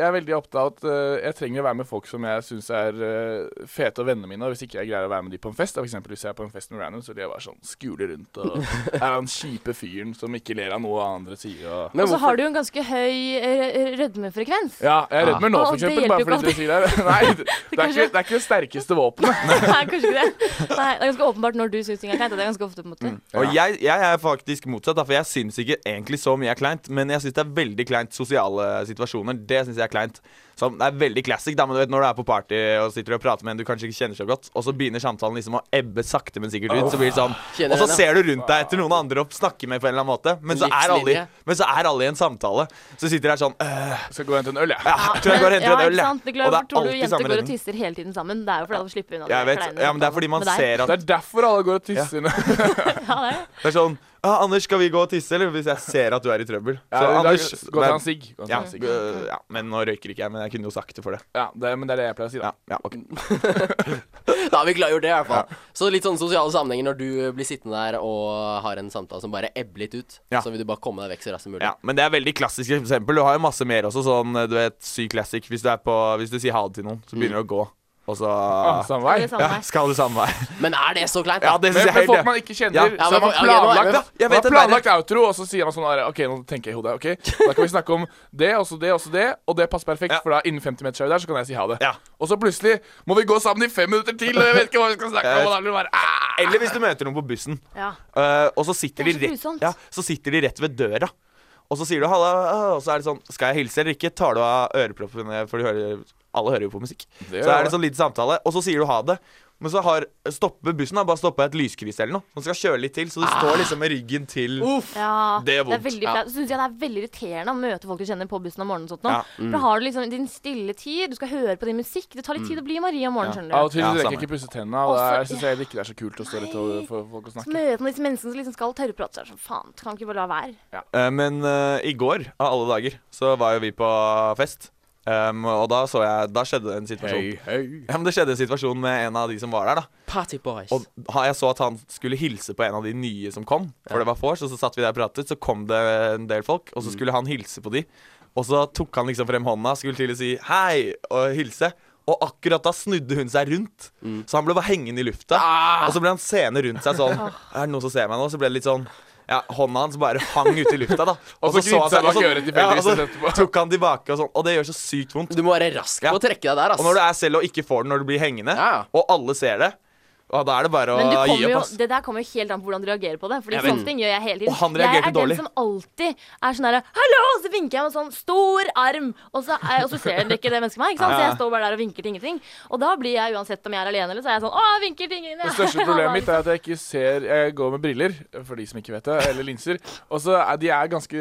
Speaker 6: jeg er veldig opptatt av at eh, jeg trenger å være med folk som jeg syns er eh, fete og vennene mine. Og hvis ikke jeg greier å være med de på en fest, da, for eksempel hvis jeg er på en fest med random, så vil jeg bare sånn skule rundt og er han kjipe fyren som ikke ler av noe andre sier. Og
Speaker 4: Og så har du jo en ganske høy eh, rødmefrekvens.
Speaker 6: ja, jeg er redd meg nå,
Speaker 4: Ah. Å,
Speaker 6: for
Speaker 4: det
Speaker 6: eksempel.
Speaker 4: hjelper
Speaker 6: Bare
Speaker 4: jo ikke
Speaker 6: fordi dere sier det. Nei, det er, ikke, det er ikke det sterkeste våpenet.
Speaker 4: Nei, kanskje ikke det. Nei, det er ganske åpenbart når du syns ting er kleint. Og det er ganske ofte, på en måte.
Speaker 5: Og jeg, jeg er faktisk motsatt, da, for jeg syns ikke egentlig så mye er kleint. Men jeg syns det er veldig kleint sosiale situasjoner. Det syns jeg er kleint. Som, det er veldig classic, da, men du vet når du er på party og sitter og prater med en du kanskje ikke kjenner så godt, og så begynner samtalen liksom å ebbe sakte, men sikkert ut. Så blir det sånn
Speaker 3: Kjenner
Speaker 5: Og så
Speaker 3: den, ja.
Speaker 5: ser du rundt deg etter noen andre å snakke med på en eller annen måte, men så er alle,
Speaker 3: Livslinje.
Speaker 5: i- men så er alle i en samtale. Så sitter du her sånn øh,
Speaker 6: Skal gå og hente en øl, jeg.
Speaker 5: ja, Tror jeg
Speaker 4: Men-
Speaker 5: går og henter
Speaker 4: ja,
Speaker 5: en øl,
Speaker 4: ikke
Speaker 5: jeg.
Speaker 4: sant? Det er klart,
Speaker 5: Og det er
Speaker 4: tror du
Speaker 5: alltid
Speaker 4: jenter går
Speaker 5: samme
Speaker 4: og
Speaker 5: redden.
Speaker 4: tisser hele tiden sammen? Det er jo fordi alle vil slippe unna. de
Speaker 5: Jeg vet,
Speaker 4: kleine
Speaker 5: ja, men det
Speaker 4: samtalene
Speaker 5: er fordi man
Speaker 4: med deg.
Speaker 5: ser at
Speaker 6: Det er derfor alle går og tisser.
Speaker 4: Ja, det er det.
Speaker 5: Det er sånn ah, 'Anders, skal vi gå og tisse?' Eller hvis jeg ser at du er i trøbbel.
Speaker 6: Ja,
Speaker 5: Så,
Speaker 6: i dag-
Speaker 5: Anders
Speaker 6: gå og ta en
Speaker 5: men-
Speaker 6: sigg. Gå og ta
Speaker 5: ja,
Speaker 6: en sigg.
Speaker 5: øh, ja, men nå røyker ikke jeg, men jeg kunne jo sagt det for det.
Speaker 6: Ja, det, men det er det jeg pleier å si, da.
Speaker 5: Ja, ja, ok.
Speaker 3: Da har vi klargjort det, i hvert fall. Så litt sånn sosiale sammenhenger når du blir sittende der og har en samtale som bare ebber litt ut,
Speaker 5: Ja.
Speaker 3: så vil du bare komme deg vekk så raskt som mulig.
Speaker 5: ja, Men det er veldig klassisk eksempel. Du har jo masse mer også, sånn du vet, syk classic. Hvis du, er på, hvis du sier ha det til noen, så begynner du å gå, og
Speaker 6: Ah,
Speaker 5: så
Speaker 6: samme vei.
Speaker 4: Det er samme
Speaker 5: ja,
Speaker 4: vei.
Speaker 5: skal du samme vei?
Speaker 3: Men er det så kleint? da?
Speaker 5: Ja, det syns
Speaker 6: Men
Speaker 5: jeg
Speaker 6: for
Speaker 5: helt
Speaker 6: folk
Speaker 5: ja.
Speaker 6: man ikke kjenner,
Speaker 5: Ja.
Speaker 6: så
Speaker 3: Ja,
Speaker 6: har
Speaker 3: men
Speaker 6: man
Speaker 3: folk- ja, nå er
Speaker 6: planlagt,
Speaker 3: vi-
Speaker 6: da. Man
Speaker 5: Jeg vet
Speaker 6: har
Speaker 5: det
Speaker 6: planlagt outro, og så sier man sånn her, OK, nå tenker jeg i hodet. ok, Da kan vi snakke om det, og så det, og så det. Og det passer perfekt,
Speaker 5: Ja.
Speaker 6: for da innen 50 meter er vi der, så kan jeg si ha det.
Speaker 5: Ja.
Speaker 6: Og så plutselig må vi gå sammen i fem minutter til, og jeg vet ikke hva vi skal snakke
Speaker 5: Jeg
Speaker 6: om.
Speaker 5: vet.
Speaker 6: og da blir det bare, ah!
Speaker 5: Eller hvis du møter noen på bussen,
Speaker 4: Ja.
Speaker 5: øh, og så sitter,
Speaker 4: Det er
Speaker 5: de
Speaker 4: så
Speaker 5: rett,
Speaker 4: grusomt.
Speaker 5: ja, så sitter de rett ved døra. Og så sier du 'halla', og så er det sånn 'Skal jeg hilse eller ikke?' Tar du av øreproppene, for du hører, alle hører jo på musikk. Så er det sånn liten samtale, og så sier du ha det. Men så har stopper bussen da, bare stoppa et lyskryss eller noe. Som skal kjøre litt til, så du står liksom med ryggen til.
Speaker 4: Ja,
Speaker 5: Det er vondt.
Speaker 4: veldig
Speaker 3: Ja.
Speaker 4: flaut. Så synes jeg det er veldig irriterende å møte folk du kjenner på bussen om morgenen. og sånt nå.
Speaker 5: Ja. Mm.
Speaker 4: For da har du liksom din stille tid, du skal høre på din musikk. Det tar litt tid å bli Marie om morgenen,
Speaker 6: Av og
Speaker 4: skjønner
Speaker 6: til
Speaker 4: du.
Speaker 5: Ja,
Speaker 6: rekker
Speaker 5: samme.
Speaker 6: jeg ikke pusse tennene, og
Speaker 4: Også-
Speaker 6: da syns jeg ikke det er så kult å stå litt og få folk å
Speaker 4: Så
Speaker 6: snakke.
Speaker 4: møter man disse menneskene som liksom skal tørre å prate, så er det sånn faen, kan man ikke bare la være?
Speaker 5: Eh, men eh, i går, av alle dager, så var jo vi på fest. Em, og da så jeg Da skjedde det en situasjon. Ja, men det skjedde en situasjon med en av de som var der, da.
Speaker 3: Party boys.
Speaker 5: Og ha- jeg så at han skulle hilse på en av de nye som kom, for det var vors, og så satt vi der og pratet. Så kom det en del folk, og så
Speaker 6: Mm.
Speaker 5: skulle han hilse på de. Og så tok han liksom frem hånda, skulle til å si hei og hilse. Og akkurat da snudde hun seg rundt,
Speaker 6: Mm.
Speaker 5: så han ble bare hengende i lufta.
Speaker 6: Ah!
Speaker 5: Og så ble han seende rundt seg sånn. Er det noen som ser meg nå? Så ble det litt sånn ja, Hånda hans bare hang ute i lufta, da.
Speaker 6: Og så gnidde seg
Speaker 5: og
Speaker 6: bak
Speaker 5: så-
Speaker 6: øret
Speaker 5: ja,
Speaker 6: tilfeldigvis
Speaker 5: og så
Speaker 6: etterpå.
Speaker 5: tok han tilbake, og sånn. Og det gjør så sykt vondt.
Speaker 3: Du må være rask på
Speaker 5: Ja.
Speaker 3: å trekke deg der, ass.
Speaker 5: Og når du er selv og ikke får den når du blir hengende,
Speaker 3: Ja.
Speaker 5: og alle ser det, og da er det bare å
Speaker 4: Men du
Speaker 5: gi
Speaker 4: kommer
Speaker 5: opp.
Speaker 4: jo,
Speaker 5: ass.
Speaker 4: det der kommer jo helt an på hvordan du reagerer på det. Fordi
Speaker 3: Jeg vet.
Speaker 4: sånne ting gjør jeg hele tiden.
Speaker 5: Og han
Speaker 4: jeg
Speaker 5: reagerte
Speaker 4: er
Speaker 5: dårlig.
Speaker 4: den som alltid er sånn herre Hallo! Og så vinker jeg med sånn stor arm, og så, er, og så ser det ikke det mennesket meg. Ikke sant? Så jeg står bare der og vinker til ingenting. Og da blir jeg uansett om jeg er alene eller så er jeg sånn Å, jeg vinker til ingenting.
Speaker 6: Det største problemet mitt er at jeg ikke ser Jeg går med briller, for de som ikke vet det, eller linser. Og så er de er ganske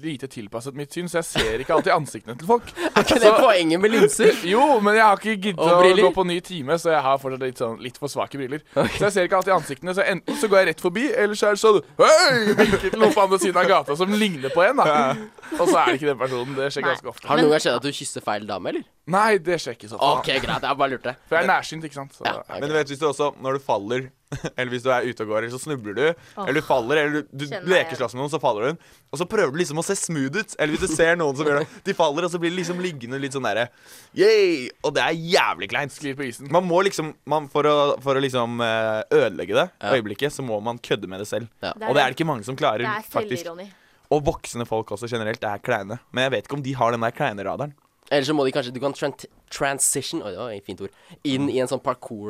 Speaker 6: lite tilpasset mitt syn, så jeg ser ikke alltid ansiktene til folk.
Speaker 3: Er ikke det poenget med linser?
Speaker 6: Jo, men jeg har ikke giddet
Speaker 3: Og
Speaker 6: å
Speaker 3: briller?
Speaker 6: gå på ny time, så jeg har fortsatt litt, sånn, litt for svake briller. Så jeg ser ikke alltid ansiktene, så enten så går jeg rett forbi, eller så er det sånn Hei! Vinker til noen på andre siden av gata som ligner på en, da. Og så er det ikke den personen. Det skjer
Speaker 4: Nei.
Speaker 6: ganske ofte.
Speaker 3: Har det noen gang skjedd at du kysser feil dame, eller?
Speaker 6: Nei, det skjer ikke så
Speaker 3: Ok,
Speaker 6: ofte. da.
Speaker 3: greit, jeg bare lurte.
Speaker 6: For jeg er nærsynt, ikke sant. Så.
Speaker 5: Men du vet, hvis du også, når du faller, eller hvis du er ute og går, eller så snubler du, eller du faller, eller du, du
Speaker 4: Kjenner meg igjen.
Speaker 5: lekeslåss med noen, så faller du, og så prøver du liksom å se smooth ut, eller hvis du ser noen som gjør det, de faller, og så blir de liksom liggende litt sånn derre, yay, og det er jævlig kleint.
Speaker 6: Sklir på isen.
Speaker 5: Man må liksom, man, for, å, for å liksom eh, ødelegge det øyeblikket, så må man kødde med det selv.
Speaker 3: Ja.
Speaker 4: Det er
Speaker 5: Og det
Speaker 4: det.
Speaker 5: er det ikke mange som klarer,
Speaker 4: Det er
Speaker 5: faktisk.
Speaker 4: selvironi.
Speaker 5: Og voksne folk også generelt er kleine. Men jeg vet ikke om de har den der kleine radaren.
Speaker 3: Eller så må de kanskje Du kan tran transition Oi, det var et fint ord. Inn i en sånn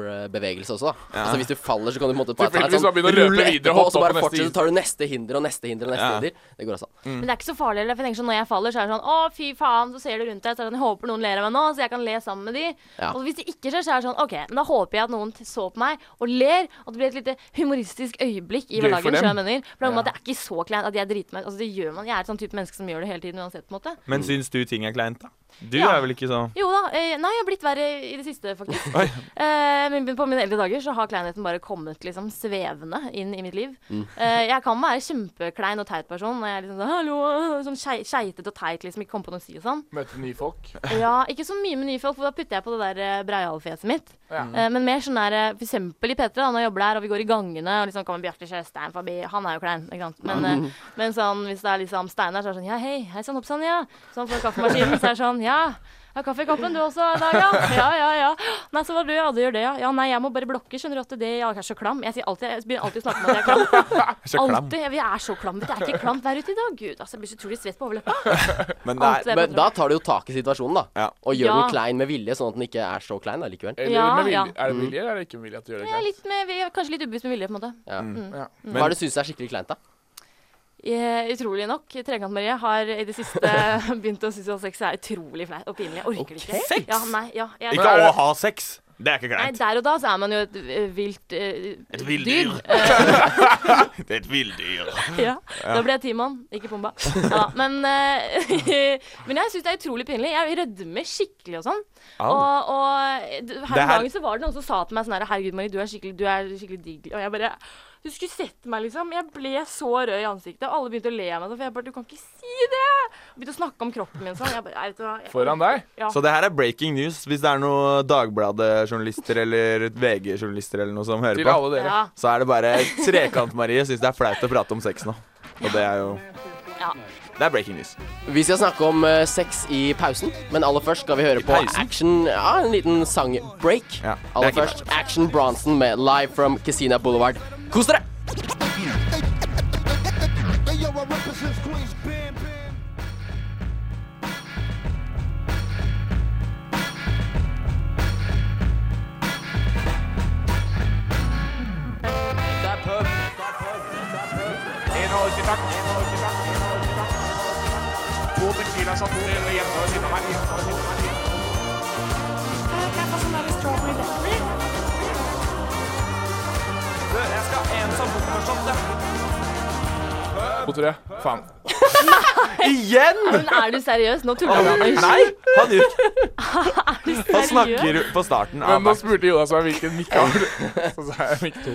Speaker 3: parkour-bevegelse også, da. Altså Hvis du faller, så kan du på en måte bare ta en
Speaker 6: Tilfeldigvis
Speaker 3: sånn
Speaker 6: bare begynne å løpe
Speaker 3: rulle
Speaker 6: videre og
Speaker 3: etterpå, og
Speaker 6: hoppe
Speaker 3: så
Speaker 6: opp
Speaker 3: bare
Speaker 6: på neste
Speaker 3: fortsette,
Speaker 6: is. Mm.
Speaker 3: så tar du neste hinder og neste hinder og neste
Speaker 5: Ja.
Speaker 3: hinder. Det går også an.
Speaker 4: Men det er ikke så farlig. eller? For jeg tenker sånn, Når jeg faller, så er det sånn Å, fy faen, så ser du rundt deg. Så er det sånn, jeg håper noen ler av meg nå, så jeg kan le sammen med de.
Speaker 3: Ja.
Speaker 4: Og hvis det ikke skjer, så er det sånn OK, men da håper jeg at noen t- så på meg og ler. Og det blir et lite humoristisk øyeblikk i
Speaker 6: Gøy for
Speaker 4: hverdagen.
Speaker 6: dem.
Speaker 4: skjønner jeg mener. For det er noe med at det er ikke så kleint at jeg driter meg ut. Altså, det gjør man. Jeg er et sånn type menneske som gjør det hele tiden uansett, på en måte.
Speaker 5: Men syns du ting er kleint, da? Du
Speaker 4: Ja.
Speaker 5: er vel ikke sånn
Speaker 4: Jo da. Eh, nei, jeg har blitt verre i det siste, faktisk. Eh, men på mine eldre dager så har kleinheten bare kommet liksom svevende inn i mitt liv. Eh, jeg kan være kjempeklein og teit person. Og jeg er liksom sånn, Hallo, sånn skei- skeitet og teit, liksom ikke komme på noe å si og sånn.
Speaker 6: Møte nye folk.
Speaker 4: Ja, ikke så mye med nye folk, for da putter jeg på det der eh, Breial-fjeset mitt.
Speaker 6: Ja.
Speaker 4: Eh, Men mer sånn der, eh, for eksempel i P3, da, når jeg jobber der, og vi går i gangene, og liksom kommer Bjarte Sjøstein forbi, han er jo klein, ikke sant. Men, eh, men sånn, hvis det er liksom Steinar, så er det sånn, ja, hei, hei sann, hopp sann, ja. Sånn på kaffemaskinen, så er det sånn, ja. Ja, kaffe i koppen, du også, Dag, ja. Ja, ja, ja. Nei, så var du, ja, du gjør det, ja. Ja, nei, jeg må bare blokke, skjønner du at det, ja, jeg er så klam. Jeg sier alltid, jeg begynner alltid å snakke om at jeg er klam. Alltid, ja, vi er så klam, vet du, jeg er ikke klam hver ute i dag, gud, altså, jeg blir så utrolig svett på overleppa.
Speaker 5: Men det
Speaker 4: Alt
Speaker 5: er,
Speaker 4: jeg
Speaker 3: Men
Speaker 4: prater om.
Speaker 3: da tar du jo tak i situasjonen, da.
Speaker 5: Ja.
Speaker 3: Og gjør
Speaker 4: Ja.
Speaker 3: den klein med vilje, sånn at den ikke er så klein da, likevel.
Speaker 6: Eller
Speaker 4: Ja.
Speaker 6: det vilje,
Speaker 4: ja.
Speaker 6: er det
Speaker 5: Mm.
Speaker 6: vilje eller er det ikke vilje at du gjør det?
Speaker 4: Jeg er
Speaker 6: Kleint?
Speaker 4: litt med, vi er kanskje litt ubevisst med vilje, på en måte.
Speaker 3: Ja.
Speaker 6: Ja.
Speaker 3: Hva er det du syns er skikkelig kleint, da?
Speaker 4: Eh, utrolig nok, Trekant-Marie har i det siste begynt å synes at sex er utrolig flaut og pinlig. Jeg orker det ikke.
Speaker 5: Sex?
Speaker 4: Ja, nei, ja, jeg,
Speaker 5: Ikke å ha sex. Det er ikke
Speaker 4: Nei,
Speaker 5: greit.
Speaker 4: der og da så er man jo et eh, vilt eh,
Speaker 5: Et villdyr.
Speaker 4: dyr.
Speaker 5: Det er et villdyr.
Speaker 4: ja. Da ble jeg Timon, ikke Pumba. Ja, men, eh, men jeg syns det er utrolig pinlig. Jeg rødmer skikkelig og sånn.
Speaker 5: Au.
Speaker 4: Og, og d- her
Speaker 5: Det
Speaker 4: om
Speaker 5: her-
Speaker 4: dagen så var det noen som sa til meg sånn her Herregud, Marie, du er skikkelig, du er skikkelig digg. Og jeg bare Du skulle sett meg, liksom. Jeg ble så rød i ansiktet. Og alle begynte å le av meg sånn, for jeg bare Du kan ikke si det! Begynte å snakke om kroppen min sånn. Jeg bare jeg vet du hva, jeg,
Speaker 6: Foran deg?
Speaker 4: ja.
Speaker 5: Så det her er breaking news hvis det er noen Dagbladet-journalister eller VG-journalister eller noe som hører
Speaker 6: Til
Speaker 5: på.
Speaker 6: alle dere.
Speaker 4: ja,
Speaker 5: Så er det bare Trekant-Marie syns det er flaut å prate om sex nå. Og det er jo
Speaker 4: ja.
Speaker 5: Det er breaking news.
Speaker 3: Vi skal snakke om eh, sex i pausen, men aller først skal vi høre på
Speaker 5: pausen?
Speaker 3: action Ja, en liten sangbreak.
Speaker 5: Ja, det er
Speaker 3: aller
Speaker 5: ikke
Speaker 3: først Action Bronson med Live from Casina Boulevard. Kos dere!
Speaker 6: Mot dere. Faen.
Speaker 5: Igjen!
Speaker 4: Men er du seriøs? Nå tuller du, Anders.
Speaker 5: Nei! Han, gjør- han snakker på starten av
Speaker 6: Men nå spurte Jonas meg hvilken mikk han hadde. Så sa jeg mikk to.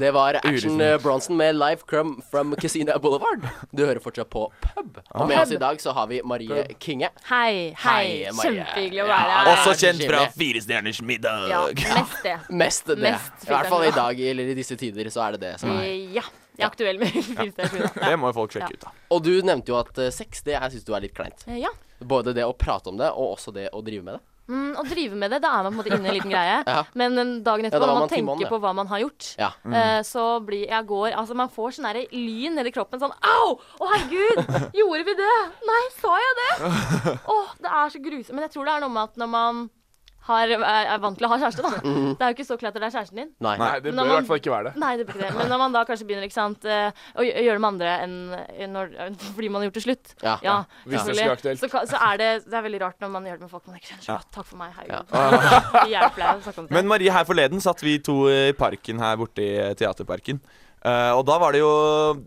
Speaker 3: Det var Action
Speaker 5: Urutinert.
Speaker 3: eh, Bronson med Live from, from Casina Boulevard. Du hører fortsatt på pub.
Speaker 5: Ah.
Speaker 3: Og med oss i dag så har vi Marie Kinge.
Speaker 4: Hei, hei.
Speaker 3: Hei, Marie.
Speaker 4: Kjempehyggelig å
Speaker 3: Ja,
Speaker 4: være her.
Speaker 5: Også kjent fra
Speaker 3: Jimmy.
Speaker 5: Fire stjerners
Speaker 4: Ja,
Speaker 5: middag.
Speaker 4: mest det.
Speaker 3: Mest det.
Speaker 4: Mest
Speaker 3: I hvert fall i
Speaker 4: fikk jeg det.
Speaker 3: dag, eller i disse tider, så er det det som er.
Speaker 4: Eh, Ja. Jeg er aktuell med firestjerners
Speaker 5: Det må jo folk sjekke ut, da.
Speaker 3: Og du nevnte jo at eh, sex, det jeg syns du er litt kleint.
Speaker 4: Eh, Ja.
Speaker 3: Både det å prate om det, og også det å drive med det.
Speaker 4: Mm, å drive med det, da er man på en måte inne i en liten greie.
Speaker 3: Ja.
Speaker 4: Men den dagen
Speaker 3: da
Speaker 4: etterpå,
Speaker 3: var
Speaker 4: når
Speaker 3: man
Speaker 4: man
Speaker 3: Timon,
Speaker 4: tenker
Speaker 3: ja.
Speaker 4: på hva man har gjort,
Speaker 3: Ja.
Speaker 4: eh, så blir jeg går Altså, man får sånn derre lyn nedi kroppen sånn Au! Å, herregud! Gjorde vi det? Nei, sa jeg det? Å, det er så grusomt. Men jeg tror det er noe med at når man har, er er vant til å ha kjæreste, da.
Speaker 3: Mm.
Speaker 4: Det er jo ikke så klart at det er kjæresten din.
Speaker 3: Nei.
Speaker 6: Nei, det
Speaker 4: Når
Speaker 6: bør i
Speaker 4: man-
Speaker 6: hvert fall ikke være det.
Speaker 4: Nei, det blir ikke det. Men når man da kanskje begynner ikke sant, eh, å gjø- gjøre det med andre enn eh, når, fordi man har gjort det
Speaker 3: Ja.
Speaker 4: slutt,
Speaker 6: Hvis det
Speaker 4: selvfølgelig.
Speaker 6: skulle være aktuelt.
Speaker 4: så, ka- så er det, det er veldig rart når man gjør det med folk man ikke kjenner så godt. Takk for meg.
Speaker 3: Ja.
Speaker 4: Herregud. Ja. Jævlig flau å snakke om det.
Speaker 5: Men Marie, her forleden satt vi to i parken her borte i Teaterparken. Eh, og da var det jo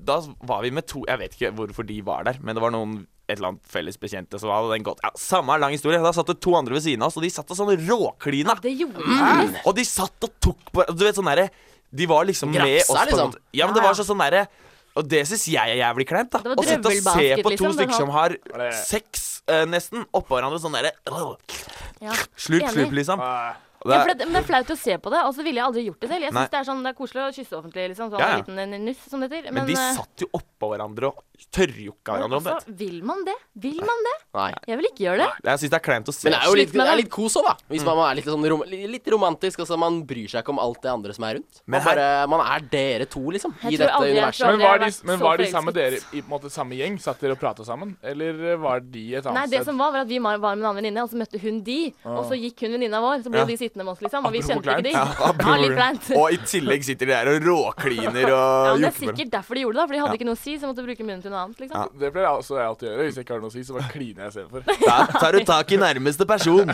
Speaker 5: Da var vi med to Jeg vet ikke hvorfor de var der, men det var noen et eller annet felles bekjente som hadde den gått ja, Samme lang historie. Da satt det to andre ved siden av oss, og de satt og sånn råklina.
Speaker 4: det gjorde
Speaker 5: Og de satt og tok på Du vet sånn derre De var liksom med
Speaker 3: Grafsa,
Speaker 5: oss på en
Speaker 3: liksom.
Speaker 5: måte. Ja, men
Speaker 4: Ja,
Speaker 5: det var
Speaker 4: ja.
Speaker 5: så sånn derre Og det syns jeg er jævlig kleint, da.
Speaker 4: Det var
Speaker 5: Å sitte og se
Speaker 4: drøvelbasket,
Speaker 5: på to
Speaker 4: liksom, den
Speaker 5: stykker som har
Speaker 6: det-
Speaker 5: sex, eh, nesten, oppå hverandre sånn derre øh,
Speaker 4: Ja.
Speaker 5: Slurp,
Speaker 4: Enig.
Speaker 5: slurp, liksom.
Speaker 6: Ah,
Speaker 5: Det
Speaker 4: Ja, for
Speaker 5: er,
Speaker 4: det, men det er flaut å se på det, og så ville jeg aldri gjort det selv. Jeg
Speaker 5: Nei.
Speaker 4: synes Det er sånn, det er koselig å kysse offentlig, liksom. Sånn
Speaker 5: Ja, ja.
Speaker 4: en liten en nuss, som det heter.
Speaker 5: men de
Speaker 4: eh,
Speaker 5: satt jo oppå hverandre og tørrjokka
Speaker 4: men
Speaker 5: hverandre om det.
Speaker 4: altså, vil man det? Vil man det?
Speaker 3: Nei.
Speaker 4: Jeg vil ikke gjøre det.
Speaker 5: Jeg syns det er kleint å se.
Speaker 3: Men det er jo litt,
Speaker 4: Slutt med
Speaker 3: det er
Speaker 4: det. Mm.
Speaker 3: litt kos òg, da. Hvis man er litt, sånn rom, li- litt romantisk. Altså, man bryr seg ikke om alt det andre som er rundt. Man,
Speaker 5: Men her-
Speaker 3: bare, man er dere to, liksom, i
Speaker 4: Jeg tror
Speaker 3: dette
Speaker 4: aldri jeg
Speaker 3: universet.
Speaker 4: tror-
Speaker 6: Men var de,
Speaker 4: Jeg har vært
Speaker 6: men
Speaker 4: så
Speaker 6: var de
Speaker 4: forelsket.
Speaker 6: sammen med dere i på en måte samme gjeng? Satt dere og prata sammen? Eller eh, var de et
Speaker 4: Nei,
Speaker 6: annet
Speaker 4: det
Speaker 6: sted?
Speaker 4: som var, var at vi var var med en annen venninne, og så møtte hun de. Og så gikk hun venninna vår, så ble
Speaker 5: Ja.
Speaker 4: de sittende med oss, liksom. Og vi
Speaker 6: Ah. Apropos
Speaker 4: kjente ikke de.
Speaker 6: kleint.
Speaker 4: Ja, litt kleint.
Speaker 5: Og i tillegg sitter de der og råkliner
Speaker 4: Ja,
Speaker 5: og
Speaker 4: men det er
Speaker 5: jokker med
Speaker 4: sikkert derfor de gjorde det, da, for de hadde ikke noe å si, så måtte de bruke munnen til noe annet, liksom.
Speaker 6: Det pleier jeg også jeg alltid å gjøre. Hvis jeg ikke har noe å si, så bare kliner jeg istedenfor.
Speaker 5: Da tar du tak i nærmeste person.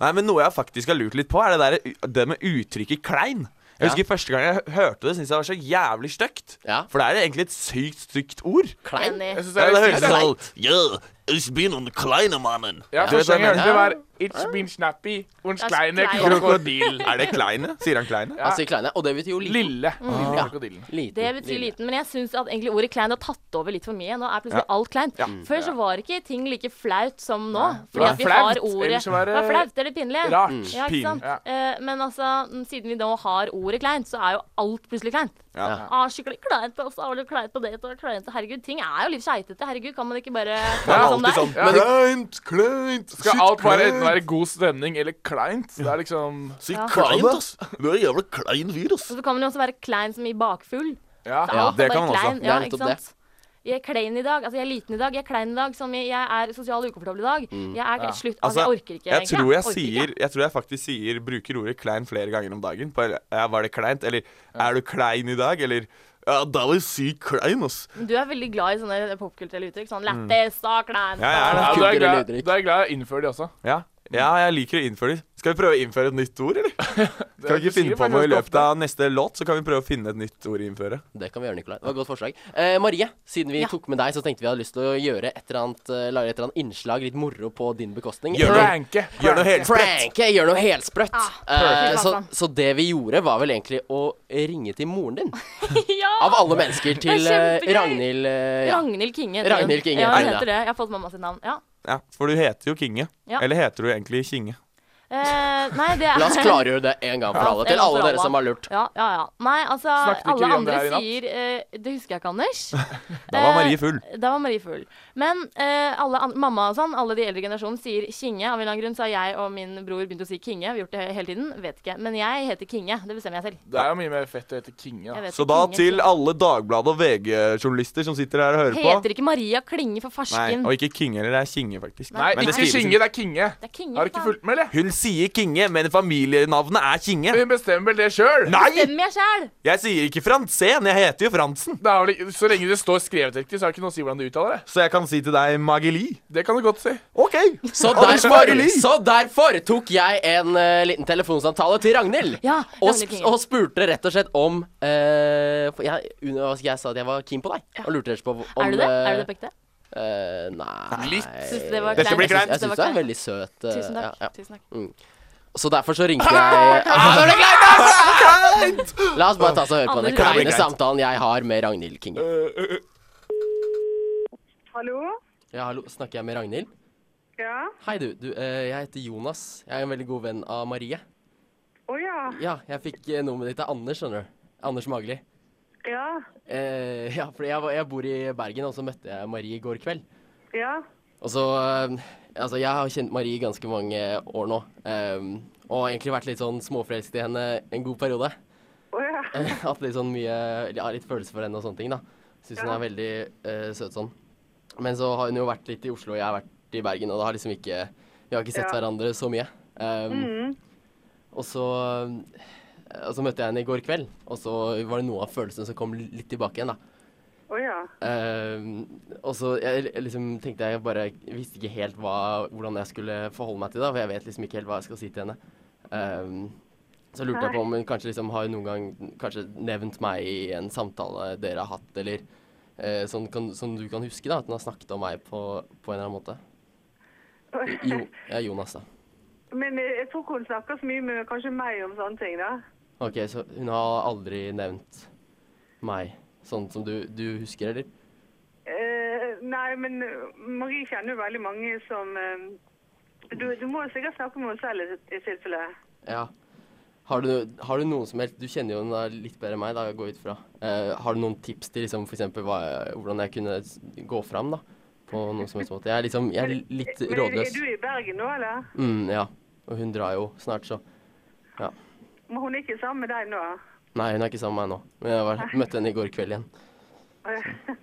Speaker 5: Nei, men Noe jeg faktisk har lurt litt på, er det, der, det med uttrykket 'klein'. Jeg husker Første gang jeg hørte det, syntes jeg det var så jævlig stygt.
Speaker 3: Ja.
Speaker 5: For det er egentlig et sykt stygt ord.
Speaker 3: Klein.
Speaker 4: Enig.
Speaker 6: Jeg synes det
Speaker 5: Ja,
Speaker 6: er
Speaker 5: det
Speaker 6: litt
Speaker 5: høres
Speaker 6: sykt.
Speaker 5: sånn
Speaker 7: Ja, ich bin ein kleiner Mann.
Speaker 6: Ja,
Speaker 5: Du vet
Speaker 6: første gang jeg
Speaker 5: hva
Speaker 6: hørte
Speaker 5: jeg
Speaker 6: det, var It's been snappy und kleine
Speaker 4: kleine.
Speaker 6: krokodil.
Speaker 5: Er det kleine? Sier han kleine?
Speaker 6: Ja.
Speaker 3: Altså, kleine. Og det betyr jo liten.
Speaker 6: Lille.
Speaker 5: Mm.
Speaker 6: Lille
Speaker 3: Ja.
Speaker 6: krokodillen.
Speaker 3: liten.
Speaker 4: Det betyr
Speaker 3: lille.
Speaker 4: liten, men jeg syns at egentlig ordet klein har tatt over litt for mye. Nå er plutselig
Speaker 5: Ja.
Speaker 4: alt kleint. Før så var ikke ting like flaut som nå. Fordi at vi har
Speaker 6: flaut,
Speaker 4: ordet
Speaker 6: ellers så var det
Speaker 4: Det var flaut, det er det pinlige.
Speaker 6: Rart.
Speaker 4: Ja, ikke sant?
Speaker 6: Pin.
Speaker 4: Eh, men altså, mm, siden vi nå har ordet kleint, så er jo alt plutselig kleint.
Speaker 5: Ja.
Speaker 4: Ah, skikkelig kleint på oss, ah, det er kleint på det, det er kleint Herregud, ting er jo litt skeitete. Herregud, kan man ikke bare
Speaker 5: Det
Speaker 4: ta
Speaker 5: er
Speaker 4: det som det er?
Speaker 5: alltid sånn Kleint, kleint
Speaker 6: Skal alt bare enten være god stemning eller kleint? Det er liksom
Speaker 7: Sie
Speaker 4: Ja.
Speaker 7: klein, das? Du er jævla klein virus.
Speaker 4: Og så kan man jo også være klein som i bakfugl.
Speaker 6: Ja.
Speaker 4: Så er
Speaker 3: Ja,
Speaker 4: alt
Speaker 5: det
Speaker 4: bare
Speaker 5: kan man også.
Speaker 4: klein,
Speaker 3: Det er
Speaker 4: Ja,
Speaker 3: nettopp
Speaker 4: ikke sant? Jeg er klein i dag. Altså, jeg er liten i dag. Jeg er klein i dag. Som i, jeg er sosial ukomfortabel i dag.
Speaker 3: Mm.
Speaker 4: Jeg er slutt. Altså, jeg orker ikke.
Speaker 5: jeg
Speaker 4: egentlig.
Speaker 5: tror jeg,
Speaker 4: orker ikke.
Speaker 5: sier, jeg tror jeg faktisk sier bruker ordet klein flere ganger om dagen. På, ja, var det kleint? Eller er du klein i dag? Eller ja, da var jeg sykt klein, ass.
Speaker 4: Du er veldig glad i sånne popkulturelle uttrykk.
Speaker 3: Mm.
Speaker 4: Sånn lættis og klein.
Speaker 5: Ja, jeg er det.
Speaker 6: Ja, du er
Speaker 3: Kulere
Speaker 6: glad,
Speaker 3: lydrykk.
Speaker 6: du er glad jeg innfører de også.
Speaker 5: Ja. ja, jeg liker å innføre det. Skal vi prøve å innføre et nytt ord, eller? Skal vi
Speaker 6: du
Speaker 5: ikke
Speaker 6: sier
Speaker 5: finne
Speaker 6: det
Speaker 5: på noe i
Speaker 6: faktisk
Speaker 5: løpet av neste låt, så kan vi prøve å finne et nytt ord å innføre?
Speaker 3: Det kan vi gjøre, Nikolai. Det var et godt forslag. Eh, Marie, siden vi
Speaker 4: Ja.
Speaker 3: tok med deg, så tenkte vi hadde lyst til å gjøre et eller annet, eh, lage et eller annet innslag, litt moro på din bekostning.
Speaker 5: Gjør noe.
Speaker 6: Pranke.
Speaker 5: Gjør noe helt
Speaker 3: Prank! Jeg gjør noe helsprøtt.
Speaker 4: Ah,
Speaker 3: Eh, så,
Speaker 4: perfekt.
Speaker 3: så det vi gjorde, var vel egentlig å ringe til moren din.
Speaker 4: ja!
Speaker 3: Av alle mennesker til eh,
Speaker 4: kjempegøy.
Speaker 3: Ragnhild eh, ja.
Speaker 4: Ragnhild Kinge. heter hun.
Speaker 3: Ragnhild Kinge,
Speaker 4: Ja, hun
Speaker 3: Ragnhild.
Speaker 4: heter det. Jeg har fått mamma sitt navn. Ja.
Speaker 5: Ja, for du heter jo Kinge.
Speaker 4: Ja.
Speaker 5: Eller heter du egentlig Kinge?
Speaker 4: Eh, nei, det er
Speaker 3: La oss klargjøre det en gang for alle. Til alle dere som har lurt.
Speaker 4: Ja, ja, ja. Nei, altså
Speaker 6: Snakket ikke
Speaker 4: Alle
Speaker 6: vi om det
Speaker 4: andre
Speaker 6: her i natt?
Speaker 4: sier eh, Det husker jeg ikke, Anders.
Speaker 5: Da var Marie full.
Speaker 4: Eh, Da var Marie full. Men eh, alle an mamma og sånn, alle de eldre generasjonen sier Kinge. Av en eller annen grunn så har jeg og min bror begynt å si Kinge. Vi har gjort det he- hele tiden. Vet ikke. Men jeg heter Kinge. Det bestemmer jeg selv.
Speaker 6: Det er jo mye mer fett å hete Kinge.
Speaker 4: Jeg
Speaker 6: da.
Speaker 4: vet
Speaker 5: Så
Speaker 4: ikke,
Speaker 5: da
Speaker 4: Kinge.
Speaker 5: til alle Dagbladet og VG-journalister som sitter her og hører på.
Speaker 4: Heter ikke Maria Klinge for
Speaker 5: Nei,
Speaker 4: farsken.
Speaker 5: og ikke Kinge heller, det er Kinge, faktisk.
Speaker 6: Nei,
Speaker 5: Men det
Speaker 6: ikke
Speaker 5: skrives-
Speaker 6: Kinge, det er Kinge.
Speaker 4: Det er Kinge.
Speaker 6: Har du ikke
Speaker 4: faen.
Speaker 6: fulgt med, eller?
Speaker 5: Hun sier Kinge, men familienavnet er Kinge.
Speaker 6: Hun bestemmer vel det sjøl.
Speaker 5: Nei!
Speaker 4: Bestemmer jeg sjæl!
Speaker 5: Jeg sier ikke Fransen, jeg heter jo Fransen.
Speaker 6: Så lenge det står skrevet riktig, så har det ikke noe å si hvordan du uttaler det.
Speaker 5: Så jeg kan si til deg Mageli.
Speaker 6: Det kan du godt si.
Speaker 5: OK.
Speaker 3: Så derfor, så derfor tok jeg en eh, liten telefonsamtale til Ragnhild.
Speaker 4: Ja,
Speaker 3: og,
Speaker 4: Ragnhild
Speaker 3: sp
Speaker 4: Kinge.
Speaker 3: og spurte rett og slett om eh, for jeg, under, hva skal jeg sa at jeg var keen på deg. Og lurte rett og slett på om
Speaker 4: Er du det? Er du det på ekte?
Speaker 3: eh, nei.
Speaker 5: Litt.
Speaker 4: Syns du det var
Speaker 5: Dette
Speaker 4: kleint?
Speaker 5: blir
Speaker 3: Jeg syns,
Speaker 5: kleint.
Speaker 3: jeg syns du er veldig søt. eh,
Speaker 4: Tusen
Speaker 3: ja,
Speaker 4: takk.
Speaker 3: ja.
Speaker 4: Tusen takk.
Speaker 3: Så derfor så ringte jeg Ah, det ble kleint, ass! La oss bare ta oss og høre på
Speaker 4: Alle
Speaker 3: den
Speaker 4: lurer.
Speaker 5: Det ble
Speaker 3: kleine
Speaker 5: kleint.
Speaker 3: samtalen jeg har med Ragnhild Kinge. eh.
Speaker 8: Hallo?
Speaker 3: Ja, hallo, snakker jeg med Ragnhild?
Speaker 8: Ja?
Speaker 3: Hei, du. du eh, jeg heter Jonas. Jeg er en veldig god venn av Marie.
Speaker 8: Å ja.
Speaker 3: Ja, jeg fikk eh, nummeret ditt av Anders, skjønner du. Anders Magli.
Speaker 8: Ja.
Speaker 3: Eh, ja, for jeg, var- jeg bor i Bergen, og så møtte jeg Marie i går kveld.
Speaker 8: Ja.
Speaker 3: Og så eh, Altså, jeg har kjent Marie i ganske mange år nå. eh, og egentlig vært litt sånn småforelsket i henne en god periode.
Speaker 8: Å ja.
Speaker 3: Hatt litt sånn mye Ja, litt følelse for henne og sånne ting, da. Syns hun
Speaker 8: Ja.
Speaker 3: er veldig eh, søt sånn. Men så har hun jo vært litt i Oslo, og jeg har vært i Bergen, og det har liksom ikke Vi har ikke sett
Speaker 8: Ja.
Speaker 3: hverandre så mye. Um, Og så eh, og så møtte jeg henne i går kveld, og så var det noe av følelsene som kom litt tilbake igjen. da.
Speaker 8: Å ja.
Speaker 3: Ehm, og så jeg, jeg liksom tenkte jeg bare visste ikke helt hva, hvordan jeg skulle forholde meg til det. For jeg vet liksom ikke helt hva jeg skal si til henne. Ehm, så lurte jeg på om hun kanskje liksom har noen gang kanskje nevnt meg i en samtale dere har hatt, eller eh, sånn, kan, som du kan huske, da, at hun har snakket om meg på, på en eller annen måte. Jo, ja, Jonas, da.
Speaker 8: Men eh, jeg tror ikke hun snakker så mye med kanskje meg om sånne ting, da.
Speaker 3: OK, så hun har aldri nevnt meg sånn som du, du husker, eller?
Speaker 8: Eh, nei, men eh, Marie kjenner jo veldig mange som eh, du, du må jo sikkert snakke med henne selv i, i tilfelle.
Speaker 3: Ja. Har du, har du noen som helst Du kjenner jo henne litt bedre enn meg, da, går jeg ut fra. Eh, har du noen tips til liksom, for eksempel, hva, hvordan jeg kunne s- gå fram da, på noen som helst måte? Jeg er liksom jeg er litt
Speaker 8: Men er, er
Speaker 3: rådløs.
Speaker 8: du i Bergen nå, eller?
Speaker 3: Mm, ja. Og hun drar jo snart, så
Speaker 8: Men hun er ikke sammen med deg nå?
Speaker 3: Nei, hun er ikke sammen med meg nå. Men jeg var, møtte henne i går kveld igjen.
Speaker 8: Å, ja.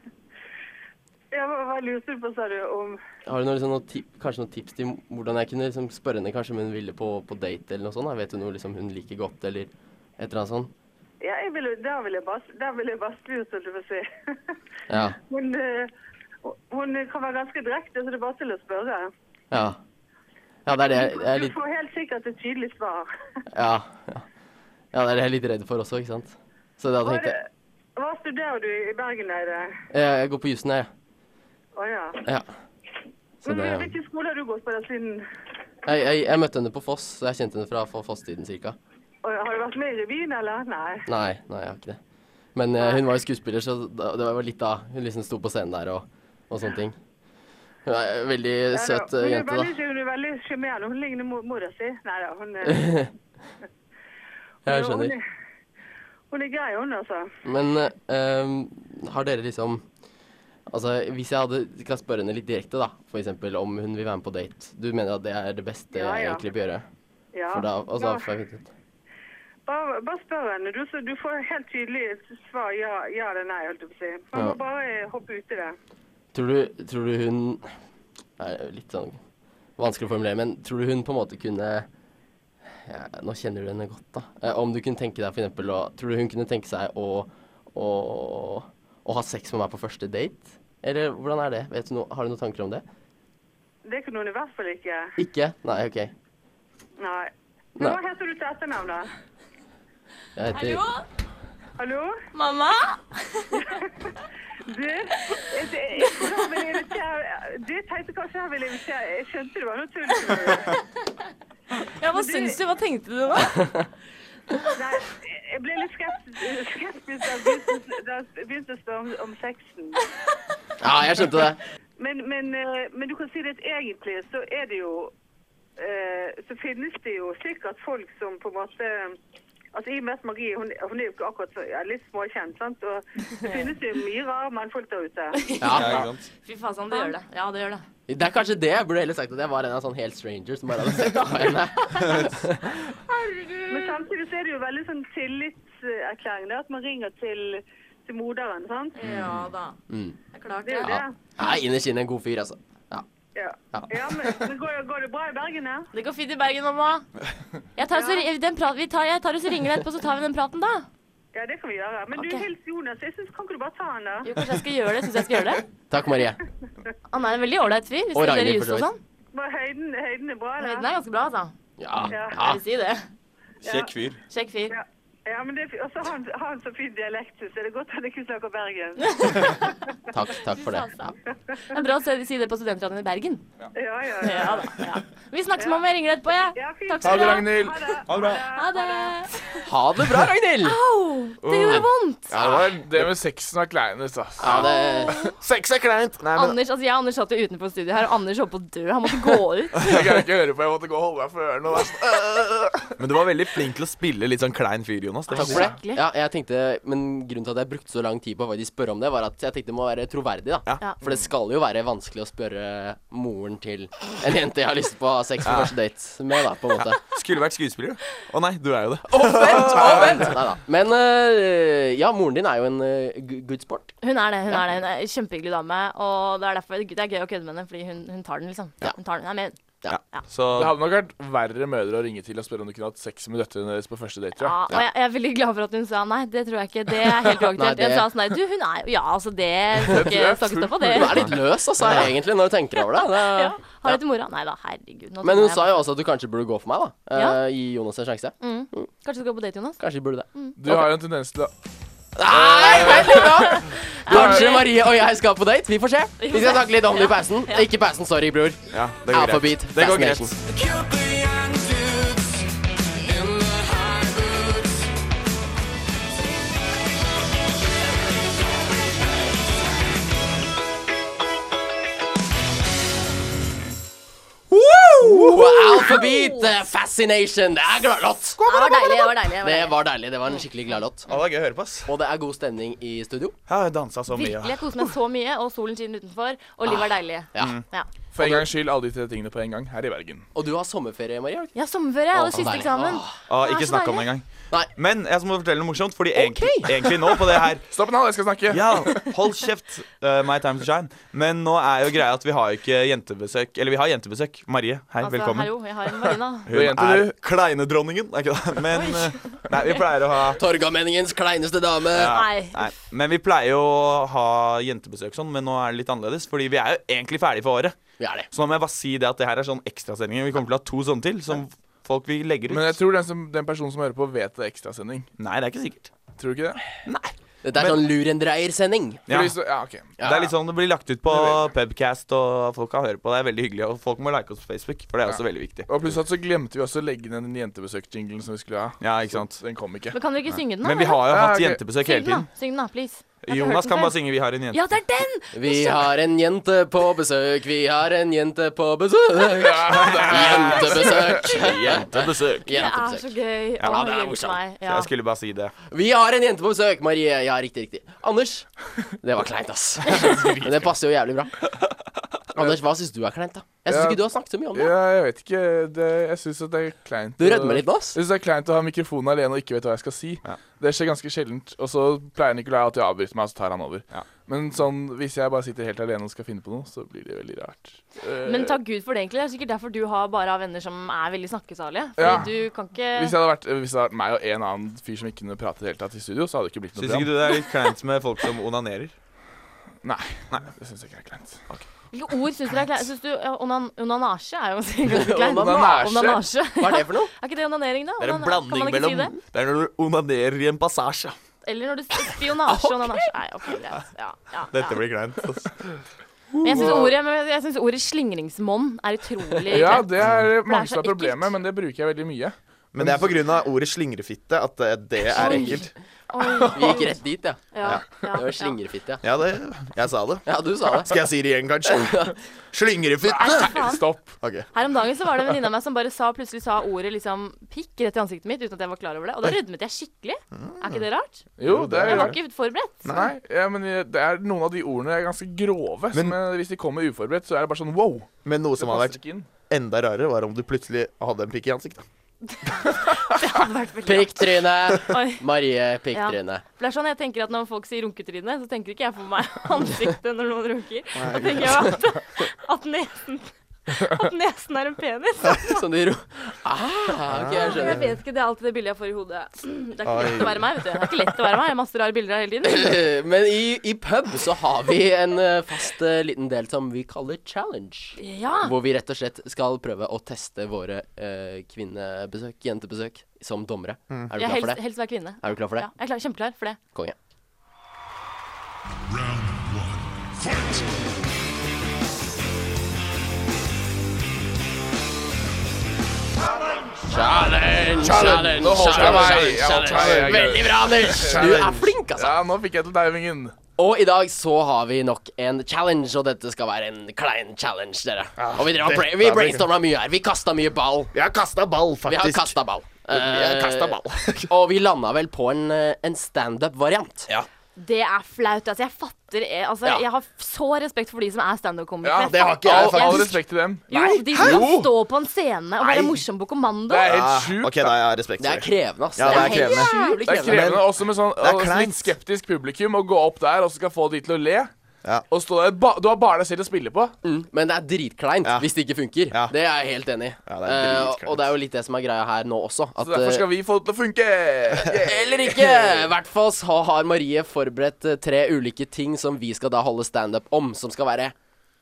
Speaker 8: Ja, hva, hva lurte du på, sa du, om
Speaker 3: Har du noe, liksom, noe tip, kanskje noen tips til hvordan jeg kunne liksom, spørre henne kanskje om hun ville på, på date eller noe sånt? Da? Vet du noe liksom, hun liker godt, eller et eller annet sånt?
Speaker 8: Ja, jeg vil, jo- der vil jeg bare der vil jeg bare spurt, holdt jeg på å si.
Speaker 3: Ja.
Speaker 8: Hun, eh, hun kan være ganske direkte, så det er bare til å spørre.
Speaker 3: Ja, ja det er det jeg- jeg er
Speaker 8: Du
Speaker 3: litt
Speaker 8: får helt sikkert et tydelig svar.
Speaker 3: Ja. ja. Ja, det er det jeg er litt redd for også, ikke sant. Så da
Speaker 8: Hva, er
Speaker 3: tenkte jeg
Speaker 8: det- hva studerer du i Bergen, Eide?
Speaker 3: eh, Jeg går på jussen, jeg.
Speaker 8: Å ja.
Speaker 3: Ja. Så
Speaker 8: Men
Speaker 3: det jeg,
Speaker 8: Hvilken skole har du gått på der siden?
Speaker 3: jeg, jeg møtte henne på Foss, så jeg kjente henne fra fra Foss-tiden cirka.
Speaker 8: Å, ja, Har du vært med i revyen, eller? Nei.
Speaker 3: Nei, nei, jeg har ikke det. Men eh, hun var jo skuespiller, så da, det var litt da hun liksom sto på scenen der og, og sånne ting. Hun er en veldig søt eh,
Speaker 8: hun er
Speaker 3: jente,
Speaker 8: veldig, Hun er veldig sjarmerende. Hun ligner mo- mora si. Nei da, hun eh, er
Speaker 3: da. Jeg
Speaker 8: hun
Speaker 3: skjønner.
Speaker 8: er- Hun er grei, hun, altså.
Speaker 3: Men eh, ehm, har dere liksom Altså, hvis jeg hadde kan spørre henne litt direkte, da, for eksempel om hun vil være med på date Du mener at det er det beste
Speaker 8: Ja,
Speaker 3: jeg
Speaker 8: ja.
Speaker 3: egentlig bør gjøre?
Speaker 8: Ja.
Speaker 3: For da, altså, og så
Speaker 8: Nå-
Speaker 3: får jeg vite
Speaker 8: Bare, bare spør henne. Du, så du får helt tydelig et svar ja, ja eller nei, holdt jeg på å si. Man må
Speaker 3: Ja.
Speaker 8: bare hoppe uti det.
Speaker 3: Tror du, tror du hun Det er litt sånn vanskelig å formulere, men tror du hun på en måte kunne ja, Nå kjenner du henne godt, da. Eh, om du kunne tenke deg for eksempel å Tror du hun kunne tenke seg å, å, å ha sex med meg på første date? Eller hvordan er det? Vet du noe- har du noen tanker om det?
Speaker 8: Det kunne hun i hvert fall ikke.
Speaker 3: Ikke? Nei, OK.
Speaker 8: Nei. Men
Speaker 3: Nei.
Speaker 8: hva heter du til etternavn, da?
Speaker 3: Jeg heter
Speaker 4: Hallo?
Speaker 8: Hallo?
Speaker 4: Mamma?
Speaker 8: Du, jeg, jeg, jeg tror han ville invitere Du jeg tenkte kanskje han ville invitere Jeg skjønte det var noe tull. Nei,
Speaker 4: Ja, hva syns du? Hva tenkte du nå?
Speaker 8: jeg- jeg ble litt skeptisk, skeptisk da jeg begynte- da jeg begynte å spørre om, om sexen.
Speaker 3: Ja, jeg skjønte det.
Speaker 8: Men, men, eh, men du kan si det at egentlig så er det jo eh, Så finnes det jo sikkert folk som på en måte Altså I og med at Marie hun, hun er jo ikke akkurat så, ja, litt småkjent, sant? og det finnes jo mye rare mannfolk der ute.
Speaker 5: Ja,
Speaker 3: Ja.
Speaker 5: ikke sant?
Speaker 4: Fy faen, sånn, det gjør det. Ja, det gjør det.
Speaker 3: Det er kanskje det. Jeg burde heller sagt at jeg var en av sånn helt stranger som bare hadde sett på henne.
Speaker 8: Men samtidig så er det jo veldig sånn tillitserklæring det at man ringer til, til moderen. sant?
Speaker 4: Ja da.
Speaker 3: Mm.
Speaker 4: Det er klart,
Speaker 8: Det er jo
Speaker 4: det.
Speaker 8: det.
Speaker 3: Ja. Ja, Innerst inne en god fyr, altså. Ja.
Speaker 8: Ja,
Speaker 3: Ja.
Speaker 8: ja men, men går, går det bra i Bergen her?
Speaker 4: Det går fint i Bergen, mamma. Jeg tar, så, den prat, vi tar, jeg tar og så ringer deg etterpå, så tar vi den praten, da.
Speaker 8: Ja, det kan vi gjøre. Men
Speaker 4: Ok.
Speaker 8: du, hils Jonas. Jeg synes, kan ikke du bare ta han da?
Speaker 4: Jo, kanskje jeg skal gjøre det. Syns jeg skal gjøre det.
Speaker 3: Takk, Marie.
Speaker 4: Han er en veldig ålreit fyr.
Speaker 3: Og
Speaker 4: Vi skal gjøre
Speaker 3: Ragnhild,
Speaker 4: jus
Speaker 3: for så
Speaker 4: og
Speaker 3: vidt.
Speaker 4: sånn.
Speaker 8: Bare høyden, høyden er bra,
Speaker 4: Høyden er ganske bra, altså.
Speaker 3: Ja.
Speaker 8: Ja.
Speaker 3: ja.
Speaker 4: Jeg vil si det.
Speaker 5: Kjekk fyr.
Speaker 4: Kjekk fyr.
Speaker 8: Ja. Ja, men det, og så har han, har han så fin dialekt, så det er godt han ikke snakker Bergen.
Speaker 3: Takk, takk for det. Ja.
Speaker 4: altså. Det er bra å se- si det på studentradioen i Bergen.
Speaker 8: Ja, ja, ja.
Speaker 4: Ja da. Ja. Vi snakkes, mamma. Jeg ringer deg etterpå, jeg.
Speaker 8: Ja, fint.
Speaker 6: Ha
Speaker 4: Takk skal
Speaker 6: det,
Speaker 4: du ha.
Speaker 6: Ragnhild.
Speaker 8: Ha det.
Speaker 5: Ha det bra.
Speaker 4: Ha det.
Speaker 3: Ha det bra, Ragnhild!
Speaker 4: Au! Det gjorde
Speaker 3: Uh.
Speaker 4: vondt.
Speaker 6: Ja, det, var, det med sexen var kleinest, ass.
Speaker 3: Ja, det,
Speaker 5: Sex er kleint! Nei, men
Speaker 4: Anders, altså jeg og Anders satt jo utenfor studiet her, og Anders holdt på å dø. Han måtte gå ut.
Speaker 6: Jeg kan ikke høre på. Jeg måtte gå og holde meg for ørene. og være sånn,
Speaker 5: Men du var veldig flink til å spille litt sånn klein fyr, Jonas. Det
Speaker 3: takk
Speaker 5: synes
Speaker 3: for
Speaker 5: jeg.
Speaker 3: det. Ja, jeg tenkte, men grunnen til at jeg brukte så lang tid på å faktisk spørre om det, var at jeg tenkte det må være troverdig, da.
Speaker 5: Ja.
Speaker 4: Ja.
Speaker 3: For det skal jo være vanskelig å spørre moren til en jente jeg har lyst på å ha sex på første date med, da, på en måte.
Speaker 5: Skulle vært skuespiller, du. Å nei, du er jo det.
Speaker 3: Neida. Men øh, ja, moren din er jo en øh, gu- good sport.
Speaker 4: Hun er det. hun er det. Hun er en kjempehyggelig dame. Og det er derfor det er gøy å kødde med henne, fordi hun, hun tar den, liksom.
Speaker 3: Ja.
Speaker 4: Hun tar den, hun er med.
Speaker 5: Så
Speaker 6: Det hadde nok vært verre mødre å ringe til og spørre om du kunne hatt sex med døtrene deres på første date.
Speaker 4: Ja,
Speaker 6: Ja.
Speaker 4: og jeg, jeg er veldig glad for at hun sa nei, det tror jeg ikke. Det er helt
Speaker 3: Nei,
Speaker 4: uaktuelt.
Speaker 3: det-
Speaker 4: Jeg sa sånn nei, du, hun er jo Ja, altså, det skal ikke
Speaker 6: jeg er
Speaker 4: snakkes opp på det.
Speaker 3: Hun er litt løs, altså, egentlig, når du tenker over det. det
Speaker 4: Ja, har du til mora? Nei da, herregud. nå
Speaker 3: Men hun
Speaker 4: tror jeg-
Speaker 3: sa jo også at du kanskje burde gå for meg, da.
Speaker 4: Ja.
Speaker 3: Eh, gi Jonas en sjanse.
Speaker 4: mm. Kanskje du skal på date, Jonas?
Speaker 3: Kanskje de burde det.
Speaker 6: Du har jo en tendens til å
Speaker 3: Nei, veldig bra! Kanskje Marie og jeg skal på date. Vi får se. Vi skal snakke litt om det i pausen. Ikke i pausen, sorry, bror.
Speaker 5: ja, det går
Speaker 3: Alpha
Speaker 5: greit.
Speaker 3: Beat,
Speaker 5: Det går greit.
Speaker 3: Fascination. Wow, Alpha Beat, eh, Fascination. Det er gladlåt.
Speaker 4: Det var deilig. det var deilig, det var
Speaker 3: Det
Speaker 4: deilig.
Speaker 3: var deilig. Det var en skikkelig gladlåt.
Speaker 5: Å, det er gøy å høre på, ass.
Speaker 3: Og det er god stemning i studio.
Speaker 5: Jeg har dansa så mye.
Speaker 4: Virkelig, jeg koste meg så mye, og solen skinner utenfor, og livet er deilig.
Speaker 3: Ah,
Speaker 4: Mm.
Speaker 3: Ja.
Speaker 4: Ja,
Speaker 6: for en gangs skyld alle de tre tingene på en gang her i Bergen.
Speaker 3: Og du har sommerferie, Marie? har du ikke?
Speaker 4: ja sommerferie. Jeg
Speaker 3: Å,
Speaker 4: hadde siste
Speaker 3: deilig. ah,
Speaker 4: eksamen.
Speaker 5: Å,
Speaker 4: Det er
Speaker 5: ikke
Speaker 4: så
Speaker 5: snakk
Speaker 4: deilig.
Speaker 5: om det engang.
Speaker 3: Nei.
Speaker 5: Men jeg må fortelle noe morsomt, fordi egentlig, egentlig nå på det her
Speaker 6: Stopp nå, jeg skal snakke.
Speaker 5: Ja, hold kjeft. eh, my time to shine. Men nå er jo greia at vi har jo ikke jentebesøk. Eller vi har jentebesøk. Marie, hei,
Speaker 4: Altså,
Speaker 5: velkommen.
Speaker 4: Hallo, jeg har en Marina.
Speaker 5: Hun
Speaker 6: Du er jente,
Speaker 5: er
Speaker 6: du.
Speaker 5: kleinedronningen. Er ikke det? Men eh, Nei, vi pleier å ha
Speaker 3: Torgallmenningens kleineste dame.
Speaker 4: Nei.
Speaker 5: Nei, men vi pleier jo å ha jentebesøk sånn, men nå er det litt annerledes. Fordi vi er jo egentlig ferdig for året.
Speaker 3: Vi er det.
Speaker 5: Så nå må jeg bare si det at det her er sånn ekstrasendinger. Vi kommer til å ha to sånne til. Som folk vi legger ut.
Speaker 6: Men jeg tror den, som, den personen som hører på, vet det er ekstrasending.
Speaker 5: Nei, det er ikke sikkert.
Speaker 6: Tror du ikke det?
Speaker 3: Dette er
Speaker 5: Men-
Speaker 3: sånn lurendreiersending.
Speaker 5: Ja.
Speaker 6: Fordi så, ja, ok.
Speaker 5: Det er litt sånn det blir lagt ut på Pubcast, og folk kan høre på. Det er veldig hyggelig. Og folk må like oss på Facebook, for det er også veldig viktig.
Speaker 6: Og plutselig så glemte vi også å legge ned den jentebesøk-jinglen som vi skulle ha.
Speaker 5: Ja, ikke sant.
Speaker 6: Så Den kom ikke.
Speaker 4: Men kan dere ikke synge den, da?
Speaker 5: Men vi har jo
Speaker 6: Ja,
Speaker 5: hatt
Speaker 6: ok.
Speaker 5: jentebesøk hele
Speaker 4: Syng den,
Speaker 5: tiden.
Speaker 4: da. Syng den, da, please. Jeg har ikke hørt
Speaker 5: Jonas
Speaker 4: den
Speaker 5: kan
Speaker 4: før.
Speaker 5: bare synge 'Vi har en jente'.
Speaker 4: Ja, det er den!
Speaker 3: Vi har en jente på besøk, vi har en jente på besøk. Jentebesøk.
Speaker 5: Jentebesøk.
Speaker 4: Det er så
Speaker 3: Jentebesøk.
Speaker 4: gøy.
Speaker 3: Ja,
Speaker 4: Å,
Speaker 3: det er
Speaker 4: hjelpe
Speaker 3: morsomt.
Speaker 4: meg.
Speaker 5: Så
Speaker 4: Ja.
Speaker 5: jeg skulle bare si det.
Speaker 3: Vi har en jente på besøk, Marie. Ja, riktig, riktig. Anders. Det var kleint, ass. Men det passer jo jævlig bra. Anders, hva syns du er kleint, da? Jeg syns
Speaker 6: Ja.
Speaker 3: ikke du har snakket så mye om det.
Speaker 6: Ja, jeg vet ikke. Det, jeg syns det er kleint.
Speaker 3: Du
Speaker 6: å-
Speaker 3: rødmer litt med oss.
Speaker 6: Jeg synes det er kleint å ha mikrofonen alene og ikke vet hva jeg skal si.
Speaker 9: Ja.
Speaker 6: Det skjer ganske sjeldent. Og så pleier Nikolai alltid å avbryte meg, og så tar han over.
Speaker 9: Ja.
Speaker 6: Men sånn, hvis jeg bare sitter helt alene og skal finne på noe, så blir det veldig rart. Eh,
Speaker 4: Men takk Gud for det, egentlig. Det er sikkert derfor du har bare har venner som er veldig snakkesalige. Fordi
Speaker 6: Ja.
Speaker 4: du eh, kan ikke
Speaker 6: hvis, jeg hadde vært, eh, hvis det hadde vært meg og en annen fyr som ikke kunne prate i det hele tatt i studio, så hadde det ikke blitt noe
Speaker 9: Syns
Speaker 6: bra.
Speaker 9: ikke du det er litt kleint med folk som onanerer?
Speaker 6: Nei, det syns jeg ikke er kleint.
Speaker 4: Hvilke ord syns du er kleint? Syns du ja, onan, onanasje er jo ganske kleint?
Speaker 6: Onanasje?
Speaker 4: onanasje.
Speaker 3: Hva er det for noe?
Speaker 4: Er ikke det onanering, da?
Speaker 9: Det er en
Speaker 4: Onan- kan
Speaker 9: blanding
Speaker 4: man ikke
Speaker 9: mellom
Speaker 4: si det?
Speaker 9: Det er når du onanerer i en passasje.
Speaker 4: Eller når du spionasje og onanasje. Nei, ok, greit. Ja, ja, ja.
Speaker 9: Dette blir kleint. altså.
Speaker 4: Men jeg syns ordet, men jeg synes ordet slingringsmonn er utrolig
Speaker 6: Ja,
Speaker 4: kleint.
Speaker 6: det er
Speaker 5: Mm.
Speaker 6: mange
Speaker 4: så
Speaker 6: som har
Speaker 4: ekkelt.
Speaker 6: problemet, men det bruker jeg veldig mye.
Speaker 5: Men det er på grunn av ordet slingrefitte at eh, det er
Speaker 4: Oi.
Speaker 5: ekkelt.
Speaker 4: Oi.
Speaker 3: Vi gikk rett dit, ja.
Speaker 4: Ja, ja,
Speaker 3: Det var slingrefitte, ja.
Speaker 5: Ja, det, jeg sa det.
Speaker 3: Ja, du sa det.
Speaker 5: Skal jeg si det igjen, kanskje? Slingrefitte!
Speaker 4: ja. Faen.
Speaker 6: Stopp.
Speaker 5: Ok.
Speaker 4: Her om dagen så var det en venninne av meg som bare sa, plutselig sa ordet liksom pikk rett i ansiktet mitt uten at jeg var klar over det. Og da rødmet jeg skikkelig. Er ikke det rart?
Speaker 6: Jo, det er
Speaker 4: Jeg var
Speaker 6: rart.
Speaker 4: ikke forberedt.
Speaker 6: Nei, ja, men det er noen av de ordene er ganske grove. Men, hvis de kommer uforberedt, så er det bare sånn wow.
Speaker 5: Men noe som
Speaker 6: det
Speaker 5: hadde
Speaker 6: passer
Speaker 5: vært
Speaker 6: ikke inn.
Speaker 5: enda rarere, var om du plutselig hadde en pikk i ansiktet.
Speaker 4: Det hadde vært veldig rart.
Speaker 3: Pikktryne.
Speaker 4: Oi.
Speaker 3: Marie pikktryne.
Speaker 4: For det er sånn jeg tenker at når folk sier runketryne, så tenker ikke jeg for meg ansiktet når noen runker. Da tenker jeg at, at nesen at nesen er en penis.
Speaker 3: Sånn de ro... Ah, ok, jeg
Speaker 4: Jeg
Speaker 3: skjønner.
Speaker 4: vet ikke, Det er alltid det bildet jeg får i hodet. Det er ikke
Speaker 5: Oi.
Speaker 4: lett å være meg. vet du. Det er ikke lett å være meg. Jeg har masse rare bilder her hele tiden.
Speaker 3: Eh, Men i, i pub så har vi en eh, fast eh, liten del som vi kaller challenge.
Speaker 4: Ja.
Speaker 3: Hvor vi rett og slett skal prøve å teste våre eh, kvinnebesøk, jentebesøk, som dommere. Er du
Speaker 4: Jeg
Speaker 3: klar for
Speaker 4: helst,
Speaker 3: det?
Speaker 4: helst være kvinne.
Speaker 3: Er du klar for det?
Speaker 4: Ja, jeg er klar, kjempeklar for det.
Speaker 3: Konge. Challenge, challenge,
Speaker 6: jeg meg.
Speaker 3: Veldig bra, Anders! Du er flink, altså.
Speaker 6: Ja, nå fikk jeg til timingen.
Speaker 3: Og i dag så har vi nok en challenge, og dette skal være en klein challenge, dere. Og vi, drev og bra vi brainstorma mye her. Vi kasta mye ball.
Speaker 5: Jeg har kasta ball,
Speaker 3: Vi har
Speaker 5: faktisk.
Speaker 3: kasta ball.
Speaker 5: har
Speaker 3: Eh,
Speaker 5: kastet ball.
Speaker 3: og vi landa vel på en, eh, en standup-variant.
Speaker 4: Det er flaut. altså Jeg fatter eh, altså,
Speaker 3: Ja.
Speaker 4: Jeg har f- så respekt for de som er standup-komikere.
Speaker 6: Ja,
Speaker 4: Jeg
Speaker 5: det har ikke
Speaker 4: fatter
Speaker 5: jeg,
Speaker 6: All,
Speaker 4: ikke.
Speaker 6: all respekt til dem.
Speaker 4: Jo, de som kan stå på en scene og være morsom på kommando.
Speaker 6: Det er
Speaker 5: Ah,
Speaker 6: helt sjukt.
Speaker 5: OK, da har jeg respekt
Speaker 3: Det er
Speaker 5: for det.
Speaker 3: krevende, ass.
Speaker 5: Ja, det er
Speaker 3: helt
Speaker 5: krevende.
Speaker 3: Jævlig
Speaker 6: Det er
Speaker 3: krevende.
Speaker 6: krevende også med sånn
Speaker 5: er
Speaker 6: og
Speaker 5: kleint.
Speaker 6: litt skeptisk publikum å gå opp der og så skal få de til å le.
Speaker 5: Ja.
Speaker 6: Og stå der, ba, Du har bare deg selv å spille på.
Speaker 3: Men det er dritkleint
Speaker 5: Ja.
Speaker 3: hvis det ikke funker.
Speaker 5: Ja.
Speaker 3: Det er jeg helt enig i.
Speaker 5: Ja, det er
Speaker 3: Eh, og-
Speaker 5: dritkleint.
Speaker 3: og det er jo litt det som er greia her nå også. At, eh,
Speaker 6: Så
Speaker 5: eh,
Speaker 6: Derfor skal vi få det til å funke.
Speaker 3: Eller ikke! I hvert fall så har Marie forberedt eh, tre ulike ting som vi skal da holde standup om, som skal være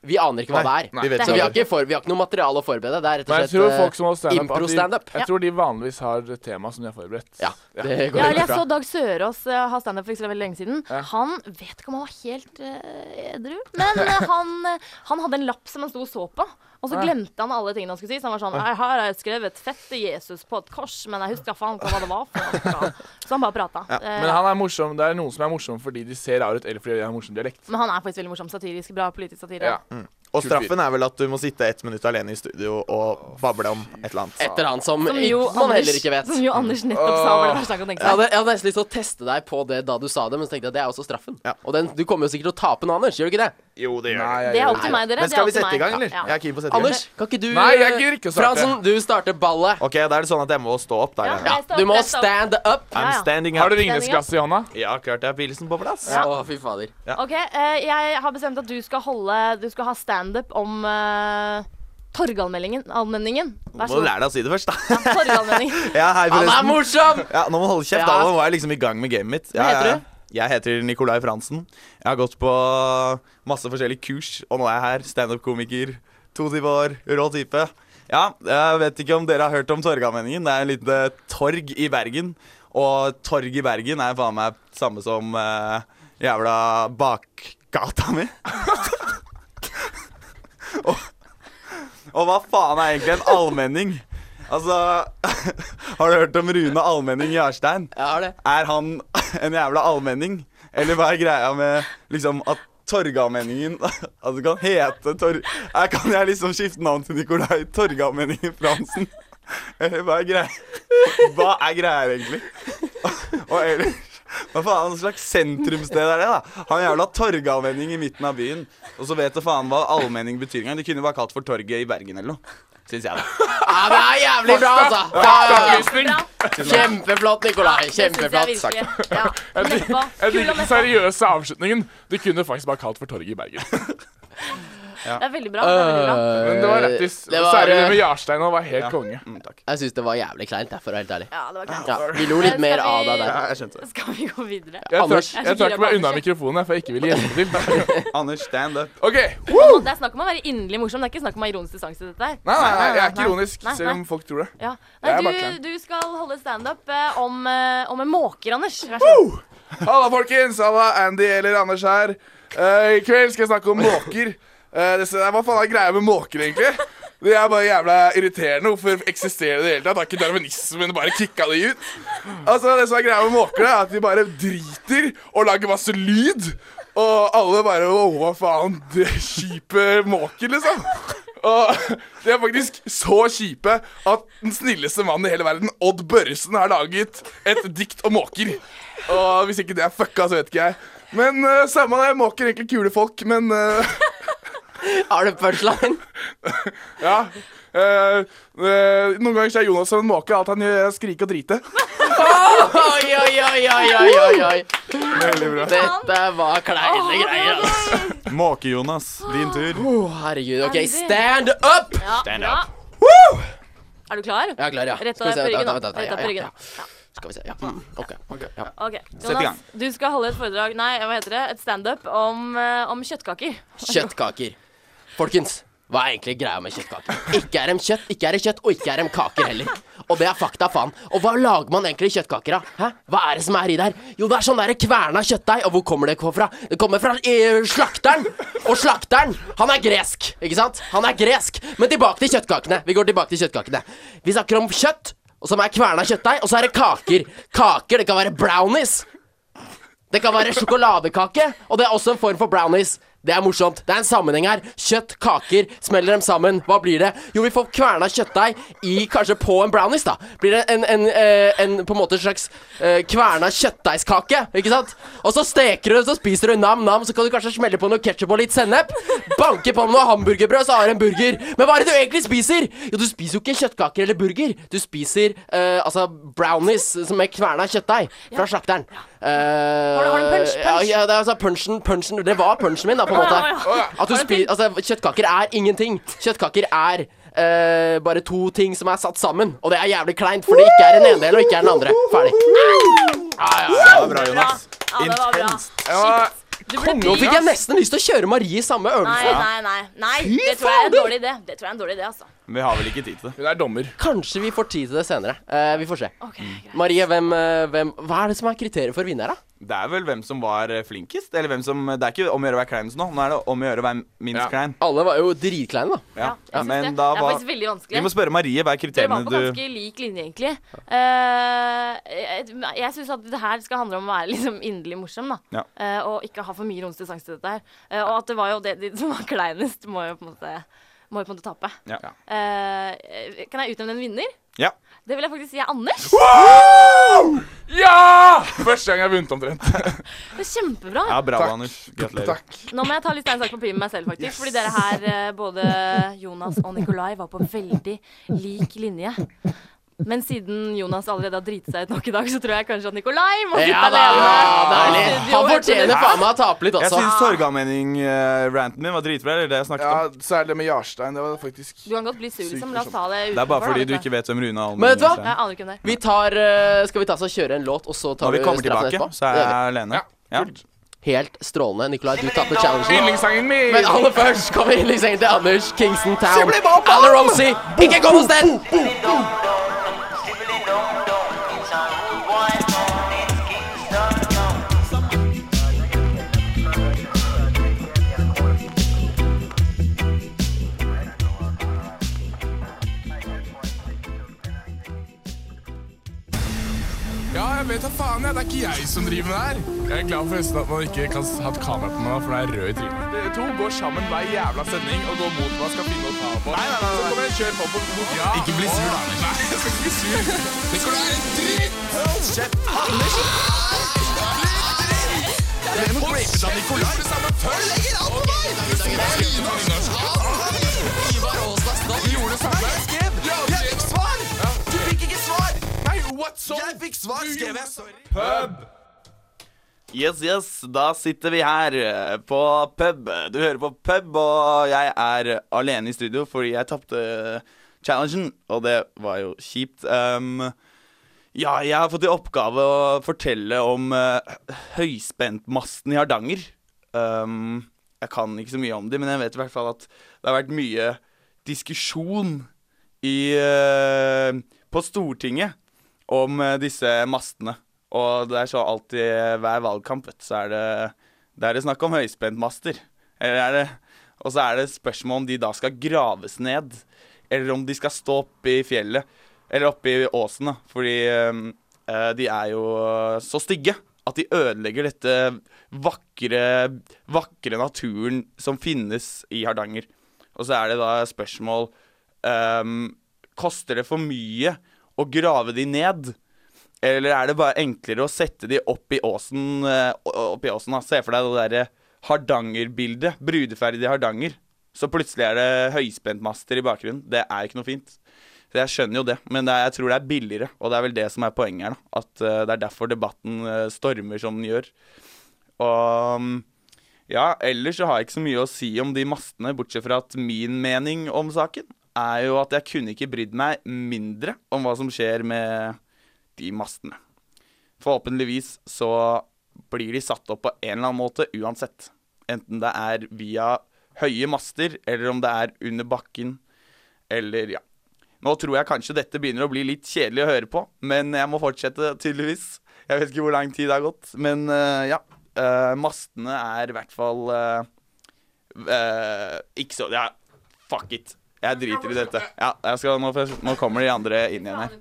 Speaker 3: Vi aner ikke hva
Speaker 5: Nei,
Speaker 3: det er.
Speaker 5: vi vet
Speaker 3: Så
Speaker 5: ikke
Speaker 3: vi
Speaker 5: hva
Speaker 3: har,
Speaker 5: det
Speaker 3: ikke for, vi har ikke noe materiale å forberede. Det er rett
Speaker 6: Men
Speaker 3: og
Speaker 6: jeg tror folk
Speaker 3: slett
Speaker 6: som har
Speaker 3: eh,
Speaker 6: standup at de,
Speaker 3: impro-standup.
Speaker 6: Jeg tror de vanligvis har et tema som de har forberedt.
Speaker 3: Ja, det går
Speaker 4: Ja, eller
Speaker 3: helt
Speaker 4: jeg
Speaker 3: bra.
Speaker 4: så Dag Sørås eh, ha standup for ikke så veldig lenge siden. Han vet ikke om han var helt eh, edru, men eh, han, eh, han hadde en lapp som han sto og så på. Og så glemte han alle tingene han skulle si. Så han var sånn «Nei, Her har jeg skrevet 'fette Jesus' på et kors, men jeg husker faen ikke hva det var. For noe.» Så han bare prata. Eh,
Speaker 6: Men han er morsom, det er noen som er morsom fordi de ser rar ut, eller fordi de har morsom dialekt.
Speaker 4: men han er faktisk veldig morsom. Satirisk bra politisk satire.
Speaker 6: Ja. Mm.
Speaker 5: Og straffen er vel at du må sitte ett minutt alene i studio og bable om et eller annet.
Speaker 3: Et eller annet som,
Speaker 4: Som jo,
Speaker 3: man
Speaker 4: Anders,
Speaker 3: heller ikke vet.
Speaker 4: som jo Anders nettopp sa var det verste han kan tenke
Speaker 3: Jeg
Speaker 4: seg.
Speaker 3: hadde, jeg hadde nesten lyst til å teste deg på det da du sa det, men så tenkte jeg at det er også straffen.
Speaker 5: Ja.
Speaker 3: Og den, du kommer jo sikkert til å tape nå, Anders. Gjør du ikke det?
Speaker 5: Jo, det gjør
Speaker 6: Nei,
Speaker 5: det.
Speaker 6: jeg,
Speaker 4: Det er
Speaker 6: gjør
Speaker 4: opp til
Speaker 6: ikke
Speaker 4: meg, dere.
Speaker 5: Men
Speaker 4: Det er
Speaker 5: skal
Speaker 4: opp
Speaker 5: vi
Speaker 4: til
Speaker 5: sette i
Speaker 4: meg.
Speaker 5: gang, eller?
Speaker 4: Ja,
Speaker 5: Jeg
Speaker 4: ja.
Speaker 5: er keen på å sette i gang.
Speaker 3: Anders, kan ikke du
Speaker 6: Nei, jeg
Speaker 3: eh,
Speaker 6: gidder ikke å starte.
Speaker 3: Fransen, du starter ballet.
Speaker 5: OK, da er det sånn at jeg må stå opp der.
Speaker 4: Ja.
Speaker 5: Ja.
Speaker 3: Ja, du må stand up.
Speaker 4: Ja,
Speaker 9: I'm
Speaker 4: ja.
Speaker 9: standing
Speaker 6: det. Har
Speaker 9: up.
Speaker 6: du Ringnes-glass i hånda?
Speaker 9: Ja, klart jeg har pilsen på plass.
Speaker 3: Å, fy fader.
Speaker 4: OK, eh, jeg har bestemt at du skal holde Du skal ha standup om eh, Torgallmenningen. Allmenningen. Vær
Speaker 5: Må
Speaker 4: så
Speaker 5: du
Speaker 4: god.
Speaker 5: lære deg å si det først, da.
Speaker 4: Torgallmenningen.
Speaker 5: Ja, hei,
Speaker 3: Han er
Speaker 5: forresten.
Speaker 3: morsom!
Speaker 5: Ja, nå må du holde kjeft.
Speaker 3: Ja.
Speaker 5: Da nå var jeg liksom i gang med gamet mitt. Ja,
Speaker 3: Hva heter
Speaker 5: ja, ja.
Speaker 3: du?
Speaker 5: Jeg heter Nicolai Fransen. Jeg har gått på masse forskjellige kurs, og nå er jeg her. Standup-komiker. 22 år. Rå type. Ja, jeg vet ikke om dere har hørt om Torgallmenningen. Det er en liten eh, torg i Bergen. Og torg i Bergen er faen meg samme som eh, jævla bakgata mi. og, og hva faen er egentlig en allmenning? Altså, har du hørt om Rune Allmenning Jarstein?
Speaker 3: Jeg har det.
Speaker 5: Er han en jævla allmenning? Eller hva er greia med liksom at Torgallmenningen
Speaker 10: altså,
Speaker 5: At det kan hete Tor... Her kan jeg liksom skifte navn til Nikolai Torgallmenningen Fransen. Eller hva er greia Hva er greia egentlig? Og ellers
Speaker 10: Hva faen slags sentrumssted er det, da? Han jævla torgallmenning i midten av byen. Og så vet du faen hva allmenning betyr engang. De kunne bare kalt for Torget i Bergen eller noe. Syns jeg, da.
Speaker 3: Ja, det er jævlig bra, altså! Ja,
Speaker 6: Opplysning!
Speaker 3: Kjempeflott, Nikolai.
Speaker 4: Det
Speaker 3: Kjempeflott
Speaker 4: syns jeg
Speaker 3: sagt.
Speaker 4: virkelig. Ja.
Speaker 6: Jeg lik-
Speaker 4: Neppa.
Speaker 6: jeg liker
Speaker 4: Kul og
Speaker 6: den
Speaker 4: neppa.
Speaker 6: seriøse avslutningen. De kunne faktisk bare kalt for Torget i Bergen.
Speaker 4: Det er veldig bra. Det er veldig bra.
Speaker 6: Men Eh, det var lættis.
Speaker 3: det var-
Speaker 6: Særlig det med Jarstein og var helt konge.
Speaker 10: Mm, takk.
Speaker 3: Jeg syns det var jævlig kleint, jeg, for å være helt ærlig.
Speaker 4: Ja, det var greit.
Speaker 3: Ja, vi lo litt
Speaker 4: Skal
Speaker 3: mer
Speaker 4: vi-
Speaker 3: av deg der.
Speaker 10: Ja, jeg skjønte det.
Speaker 4: Skal vi gå videre?
Speaker 6: Jeg trakk,
Speaker 3: Anders.
Speaker 6: jeg trakk meg unna mikrofonen, jeg, for jeg ikke ville hjelpe til.
Speaker 10: Anders, stand up.
Speaker 6: OK.
Speaker 4: Det er snakk om å være inderlig morsom. Det er ikke snakk om å ha ironisk distanse til dette her.
Speaker 6: Nei, nei, nei, jeg er
Speaker 4: Nei,
Speaker 6: ikke ironisk,
Speaker 4: nei,
Speaker 6: selv om
Speaker 4: nei.
Speaker 6: folk tror det.
Speaker 4: Ja.
Speaker 6: Jeg er
Speaker 4: Nei,
Speaker 6: bare klein.
Speaker 4: du, du skal holde standup eh, om, eh, om en måker, Anders. Vær så god.
Speaker 6: Halla, folkens! Halla, Andy eller Anders her. Eh, I kveld skal jeg snakke om måker. Eh, det, hva faen er greia med måker, egentlig? Det er bare jævla irriterende. Hvorfor eksisterer det i det hele tatt? Har ikke darwinismen bare kicka de ut? Altså, Det som er greia med måker, er at de bare driter og lager masse lyd. Og alle bare Å, hva faen? Det er kjipe måker, liksom. Og de er faktisk så kjipe at den snilleste mannen i hele verden, Odd Børresen, har laget et dikt om måker. Og hvis ikke det er fucka, så vet ikke jeg. Men eh, samme det, måker egentlig kule folk, men eh,
Speaker 3: Har du punchline?
Speaker 6: ja. Eh, eh, noen ganger så er Jonas som en måke. Alt han gjør, er å skrike og drite.
Speaker 3: Oi, oi, oi, oi, oi, oi, oi.
Speaker 6: Veldig bra.
Speaker 3: Dette var kleine greier, altså.
Speaker 10: Måke-Jonas, din tur.
Speaker 3: Å, herregud. OK,
Speaker 4: Andy.
Speaker 3: stand up!
Speaker 4: Ja, bra. Er du klar?
Speaker 3: Jeg er klar, ja.
Speaker 4: Rett
Speaker 3: Skal vi
Speaker 4: av
Speaker 3: se,
Speaker 4: på
Speaker 3: vent,
Speaker 4: ryggen. da.
Speaker 3: vent, vent,
Speaker 4: Rett av
Speaker 3: ja,
Speaker 4: på ryggen.
Speaker 3: ja,
Speaker 4: da.
Speaker 3: ja. Skal vi se. Ja. mm, OK. ok, ja.
Speaker 4: Ok,
Speaker 10: i gang.
Speaker 4: Jonas, du skal holde et foredrag Nei, hva heter det? Et standup om, eh, om kjøttkaker.
Speaker 3: Kjøttkaker. Folkens, hva er egentlig greia med kjøttkaker? Ikke er dem kjøtt, ikke er det kjøtt, og ikke er dem kaker heller. Og det er fakta, faen. Og hva lager man egentlig kjøttkaker av? Hæ? Hva er det som er i der? Jo, det er sånn derre kverna kjøttdeig. Og hvor kommer det fra? Det kommer fra eh, slakteren. Og slakteren, han er gresk, ikke sant? Han er gresk. Men tilbake til kjøttkakene. Vi går tilbake til kjøttkakene. Vi snakker om kjøtt, og som er kverna kjøttdeig, og så er det kaker. Kaker, det kan være brownies. Det kan være sjokoladekake, og det er også en form for brownies. Det er morsomt. Det er en sammenheng her. Kjøtt, kaker, smeller dem sammen. Hva blir det? Jo, vi får kverna kjøttdeig i Kanskje på en brownies, da. Blir det en, en, eh, en på en måte slags eh, kverna kjøttdeigskake, ikke sant? Og så steker du, så spiser du nam-nam, så kan du kanskje smelle på noe ketsjup og litt sennep. Banke på med noe hamburgerbrød, så har du en burger. Men hva er det du egentlig spiser? Jo, du spiser jo ikke kjøttkaker eller burger. Du spiser eh, altså brownies som er kverna kjøttdeig fra slakteren. Eh,
Speaker 4: Har du- har du en punch?
Speaker 3: Ja,
Speaker 4: Punch?
Speaker 3: ja, det er altså punchen, punchen Det var punchen min, da, på en måte.
Speaker 4: Å, ja, å, ja.
Speaker 3: At du
Speaker 4: Har du
Speaker 3: spiser
Speaker 4: en
Speaker 3: Altså, kjøttkaker er ingenting. Kjøttkaker er eh, bare to ting som er satt sammen. Og det er jævlig kleint, for det ikke er den ene delen og ikke er den andre. Ferdig.
Speaker 10: Det var bra,
Speaker 4: Bra.
Speaker 10: Jonas.
Speaker 4: Ja, det var bra.
Speaker 10: Intenst.
Speaker 6: Jeg var
Speaker 4: Du ble
Speaker 3: Nå fikk
Speaker 4: brydd.
Speaker 3: jeg nesten lyst til å kjøre Marie i samme
Speaker 4: Nei,
Speaker 3: øvelse.
Speaker 4: nei, nei. nei. Det tror jeg er en dårlig idé. Det tror jeg er en dårlig idé, altså.
Speaker 10: Vi har vel ikke tid til det.
Speaker 6: Hun er dommer.
Speaker 3: Kanskje vi får tid til det senere. Eh, vi får se.
Speaker 4: Ok,
Speaker 10: Mm.
Speaker 4: greit.
Speaker 3: Marie, hvem, eh, hvem Hva er det som er kriteriet for vinner, da?
Speaker 10: Det er vel hvem som var eh, flinkest. Eller hvem som Det er ikke om å gjøre å være kleinest nå. Nå er det om å gjøre å være minst
Speaker 6: Ja.
Speaker 10: klein.
Speaker 3: Alle var jo dritkleine, da.
Speaker 10: Ja.
Speaker 4: jeg syns
Speaker 10: Men
Speaker 4: det.
Speaker 10: da
Speaker 4: det er
Speaker 10: var
Speaker 4: faktisk veldig vanskelig.
Speaker 10: Vi må spørre Marie hva er
Speaker 4: Dere var
Speaker 10: kriteriene
Speaker 4: på
Speaker 10: du
Speaker 4: ganske lik linje, egentlig. Eh, jeg jeg syns at det her skal handle om å være liksom inderlig morsom, da.
Speaker 10: Ja.
Speaker 4: Eh, og ikke ha for mye ironisk distanse til dette her. Eh, og at det var jo det de som var kleinest, må jo på en måte, må jo på en måte tape.
Speaker 10: Ja.
Speaker 4: Eh, kan jeg utnevne en vinner?
Speaker 10: ja.
Speaker 4: Det vil jeg faktisk si er Anders.
Speaker 6: Ja! Første gang jeg har vunnet, omtrent.
Speaker 4: Det er kjempebra.
Speaker 10: ja, bra,
Speaker 6: Takk.
Speaker 10: Anders. Gratulerer.
Speaker 6: Takk.
Speaker 4: Nå må jeg ta litt stein, saks, papir med meg selv, faktisk. Fordi dere her, eh, både Jonas og Nikolai, var på veldig lik linje. Men siden Jonas allerede har driti seg ut nok i dag, så tror jeg kanskje at Nikolai må sitte
Speaker 3: Ja da!
Speaker 4: alene.
Speaker 3: Deilig.
Speaker 4: Studio,
Speaker 3: Han fortjener
Speaker 4: etter
Speaker 3: faen meg å tape litt
Speaker 10: Jeg
Speaker 3: også.
Speaker 10: syns Torgallmenning-ranten min var dritbra. Eller det jeg snakket
Speaker 6: Ja,
Speaker 10: om.
Speaker 6: særlig det med Jarstein. Det var faktisk
Speaker 4: det. Du kan godt bli sur, liksom. La oss ta det utenfor.
Speaker 10: Det er bare
Speaker 4: da,
Speaker 10: fordi
Speaker 4: vet
Speaker 10: du ikke vet hvem Rune Almen
Speaker 3: Men vet du hva?
Speaker 10: er.
Speaker 4: Jeg aner ikke hvem det er.
Speaker 3: Vi tar eh, Skal vi ta oss og kjøre en låt, og så tar
Speaker 10: Når vi
Speaker 3: vi
Speaker 10: kommer
Speaker 3: straffen
Speaker 10: tilbake,
Speaker 3: etterpå?
Speaker 10: så er
Speaker 3: Det gjør
Speaker 10: jeg
Speaker 3: vi.
Speaker 10: alene. Ja.
Speaker 3: Helt strålende. Nikolai, du tapte challengen.
Speaker 6: Yndlingssangen min!
Speaker 3: Men aller først kommer innleggssengen til Anders Kingston Town. Alle Rosie, ikke kom hos den!
Speaker 6: Ja, jeg vet da faen, jeg. Det er ikke jeg som driver med det her. Jeg er glad forresten at man ikke kan ha et kamera på meg, for det er rød i trynet. Dere to går sammen hver jævla sending og går mot hva skal finne å ta på. Nei, nei, nei, Så kommer jeg og kjører på på mot ja. Ikke bli sur, da. Nei, jeg skal ikke bli sur. Nikolai, dritt! Hold kjeft, Anders!
Speaker 5: Yes, yes, da sitter vi her eh, på pub. Du hører på pub, og jeg er alene i studio fordi jeg tapte eh, challengen, og det var jo kjipt. Um, ja, jeg har fått i oppgave å fortelle om eh, høyspentmasten i Hardanger. Um, jeg kan ikke så mye om det, men jeg vet i hvert fall at det har vært mye diskusjon i, eh, på Stortinget om eh, disse mastene. Og det er så alltid hver valgkamp, vet du, så er det, det er det snakk om høyspentmaster. Eller er det Og så er det spørsmål om de da skal graves ned, eller om de skal stå oppe i fjellet. Eller oppe i åsen, da. Fordi øhm, eh, de er jo så stygge at de ødelegger dette vakre, vakre naturen som finnes i Hardanger. Og så er det da spørsmål øhm, Koster det for mye å grave de ned? Eller er det bare enklere å sette de opp i åsen? eh, Opp i åsen da. Se for deg det derre Hardanger-bildet. Brudeferd i Hardanger. Så plutselig er det høyspentmaster i bakgrunnen. Det er ikke noe fint. Så jeg skjønner jo det, men det er, jeg tror det er billigere. Og det er vel det som er poenget her. da. At eh, det er derfor debatten eh, stormer som den gjør. Og mm, ja, ellers så har jeg ikke så mye å si om de mastene, bortsett fra at min mening om saken er jo at jeg kunne ikke brydd meg mindre om hva som skjer med de mastene. Forhåpentligvis så blir de satt opp på en eller annen måte uansett. Enten det er via høye master, eller om det er under bakken, eller ja. Nå tror jeg kanskje dette begynner å bli litt kjedelig å høre på, men jeg må fortsette, tydeligvis. Jeg vet ikke hvor lang tid det har gått, men eh, ja. Eh, mastene er i hvert fall eh, eh, Ikke så Ja, fuck it. Jeg driter i dette. Ja, jeg skal, nå, får jeg- nå kommer de andre inn igjen her.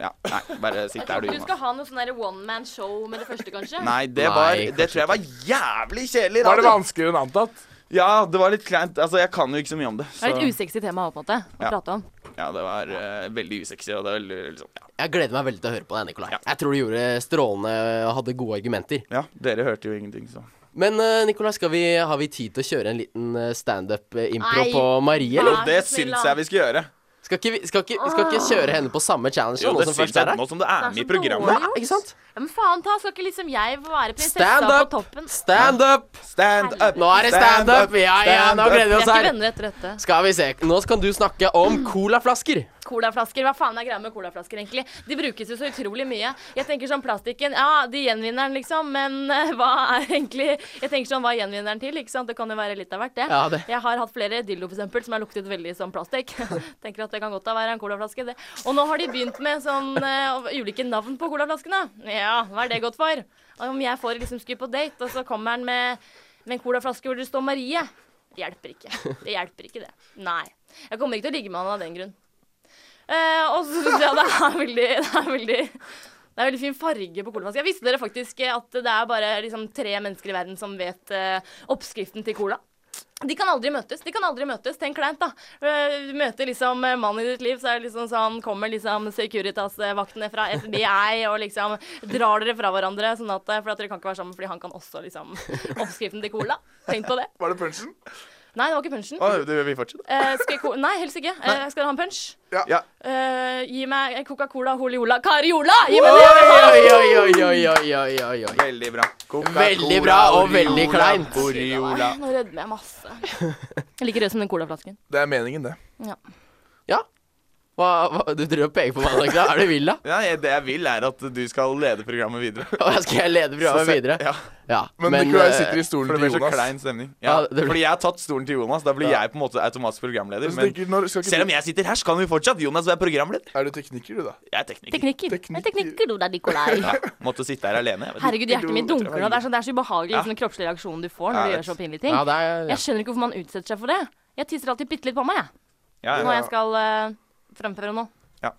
Speaker 5: Ja, nei, bare sitt der, du.
Speaker 4: Du skal ha noe sånn der one man show med det første, kanskje?
Speaker 5: Nei, det
Speaker 3: Nei,
Speaker 5: var
Speaker 3: kanskje
Speaker 5: Det tror jeg var jævlig kjedelig
Speaker 6: Var det
Speaker 5: radio.
Speaker 6: vanskeligere enn antatt?
Speaker 5: Ja, det var litt kleint. Altså, jeg kan jo ikke så mye om det.
Speaker 4: Det
Speaker 5: Så
Speaker 4: er litt usexy tema også, på en måte, å
Speaker 5: Ja.
Speaker 4: prate om.
Speaker 5: ja, det var eh, veldig usexy, og det var veldig liksom ja.
Speaker 3: Jeg gleder meg veldig til å høre på deg, Nikolai.
Speaker 5: Ja.
Speaker 3: Jeg tror du gjorde strålende og hadde gode argumenter.
Speaker 5: ja, dere hørte jo ingenting, så
Speaker 3: Men eh, Nikolai, skal vi, har vi tid til å kjøre en liten eh, standup-impro
Speaker 4: Nei.
Speaker 3: på Marie,
Speaker 4: Nei.
Speaker 3: eller?
Speaker 5: Det
Speaker 4: så snill, da.
Speaker 5: syns jeg vi skal gjøre.
Speaker 3: Skal ikke, vi, skal ikke, vi skal ikke kjøre henne på samme challenge?
Speaker 5: Jo,
Speaker 3: nå
Speaker 5: det
Speaker 3: som
Speaker 5: syns
Speaker 3: først er
Speaker 5: jeg
Speaker 3: her?
Speaker 5: nå som det er
Speaker 4: Det
Speaker 5: med
Speaker 4: er
Speaker 5: i
Speaker 4: så
Speaker 5: programmet.
Speaker 4: dårlig.
Speaker 3: Ja, ikke sant?
Speaker 4: Ja, men faen ta, skal ikke liksom jeg være prinsessa
Speaker 3: Stand
Speaker 4: på
Speaker 3: up!
Speaker 4: toppen?
Speaker 3: Stand up!
Speaker 5: Stand up!
Speaker 3: Nå er det stand up! Ja, ja, nå gleder
Speaker 4: Vi
Speaker 3: vi
Speaker 4: er
Speaker 3: oss
Speaker 4: ikke
Speaker 3: altså, her.
Speaker 4: venner Mm. etter dette.
Speaker 3: Skal vi se. Nå kan du snakke om colaflasker.
Speaker 4: Colaflasker, hva faen er greia med colaflasker, egentlig? De brukes jo så utrolig mye. Jeg tenker sånn plastikken, ja, de gjenvinner den, liksom, men eh, hva er egentlig Jeg tenker sånn, hva gjenvinner den til, ikke sant? Det kan jo være litt av hvert, det.
Speaker 3: Ja, det.
Speaker 4: Jeg har hatt flere dildo, for eksempel, som har luktet veldig som plastikk. tenker at det kan godt da være en colaflaske, det. Og nå har de begynt med sånn eh, ulike navn på colaflaskene. Ja, hva er det godt for? Om jeg får liksom skulle på date, og så kommer han med, med en colaflaske hvor det står Marie. Det hjelper ikke. Det hjelper ikke, det. Nei. Jeg kommer ikke til å ligge med han av den grunn. Eh, og så syns jeg det er veldig Det er veldig det er veldig fin farge på colaflaske. Jeg visste dere faktisk eh, at det er bare liksom, tre mennesker i verden som vet eh, oppskriften til cola. De kan aldri møtes. de kan aldri møtes, Tenk kleint, da. Eh, Du møter liksom eh, mannen i ditt liv, så er det liksom sånn Kommer liksom Securitas-vaktene fra FBI og liksom drar dere fra hverandre, sånn at, eh, for at dere kan ikke være sammen fordi han kan også liksom oppskriften til cola. Tenk på det.
Speaker 6: Var det punchen?
Speaker 4: Nei, det var ikke punsjen.
Speaker 5: Å, det vil vi fortsette.
Speaker 4: Eh, skal jeg ko Nei, helst ikke. Eh, skal dere ha en punch?
Speaker 6: Ja.
Speaker 5: Ja.
Speaker 4: Eh, gi meg Coca-Cola, Holiola, Cariola! Gi meg
Speaker 3: Oi,
Speaker 4: det!
Speaker 3: oi, oi, oi, oi, oi, oi, oi, oi.
Speaker 5: Veldig bra. Coca-Cola,
Speaker 3: Veldig bra og Mm. veldig
Speaker 5: Oriola,
Speaker 3: kleint.
Speaker 5: Oriola.
Speaker 4: Nå rødmer jeg masse. Jeg liker rød som den colaflasken.
Speaker 6: Det er meningen, det.
Speaker 3: Ja. Hva, hva, du driver og peker på meg, Nikolai. Er du vill, da?
Speaker 5: Ja, jeg- det jeg vil, er at du skal lede programmet videre.
Speaker 3: Og jeg skal lede programmet
Speaker 5: Så se-
Speaker 3: videre?
Speaker 5: Ja,
Speaker 3: Ja.
Speaker 6: Men, Nicolai
Speaker 3: eh,
Speaker 6: sitter i
Speaker 5: for
Speaker 6: stolen
Speaker 5: det
Speaker 6: til
Speaker 5: blir så
Speaker 6: Jonas.
Speaker 5: klein stemning. Ja,
Speaker 3: Ja, det blir-
Speaker 5: Fordi jeg har tatt stolen til Jonas. Da blir
Speaker 6: Ja.
Speaker 5: jeg på en måte automatisk programleder.
Speaker 6: Så
Speaker 5: Men
Speaker 6: Altså, tenker, når, skal ikke
Speaker 5: selv
Speaker 6: du-
Speaker 5: om jeg sitter her, så kan jo fortsatt Jonas være programleder.
Speaker 6: Er du tekniker, du, da?
Speaker 5: Jeg er tekniker.
Speaker 4: Teknikker.
Speaker 6: Teknikker.
Speaker 4: Teknikker. teknikker du da, Nikolai.
Speaker 5: Ja, måtte sitte her alene. Jeg vet. ikke.
Speaker 4: Herregud, hjertet mitt dunker nå. Det er så, det er så ubehagelig
Speaker 5: Ja.
Speaker 4: liksom, den kroppslige reaksjonen du får når
Speaker 5: Ja,
Speaker 4: du
Speaker 5: vet.
Speaker 4: gjør så pinlige ting.
Speaker 3: Ja, det er ja.
Speaker 4: Jeg skjønner ikke hvorfor man utsetter seg for det. Jeg tisser alltid bitte litt på meg, jeg.
Speaker 5: Ja, ja.
Speaker 4: Når jeg skal eh, fremføre noe.
Speaker 5: Ja.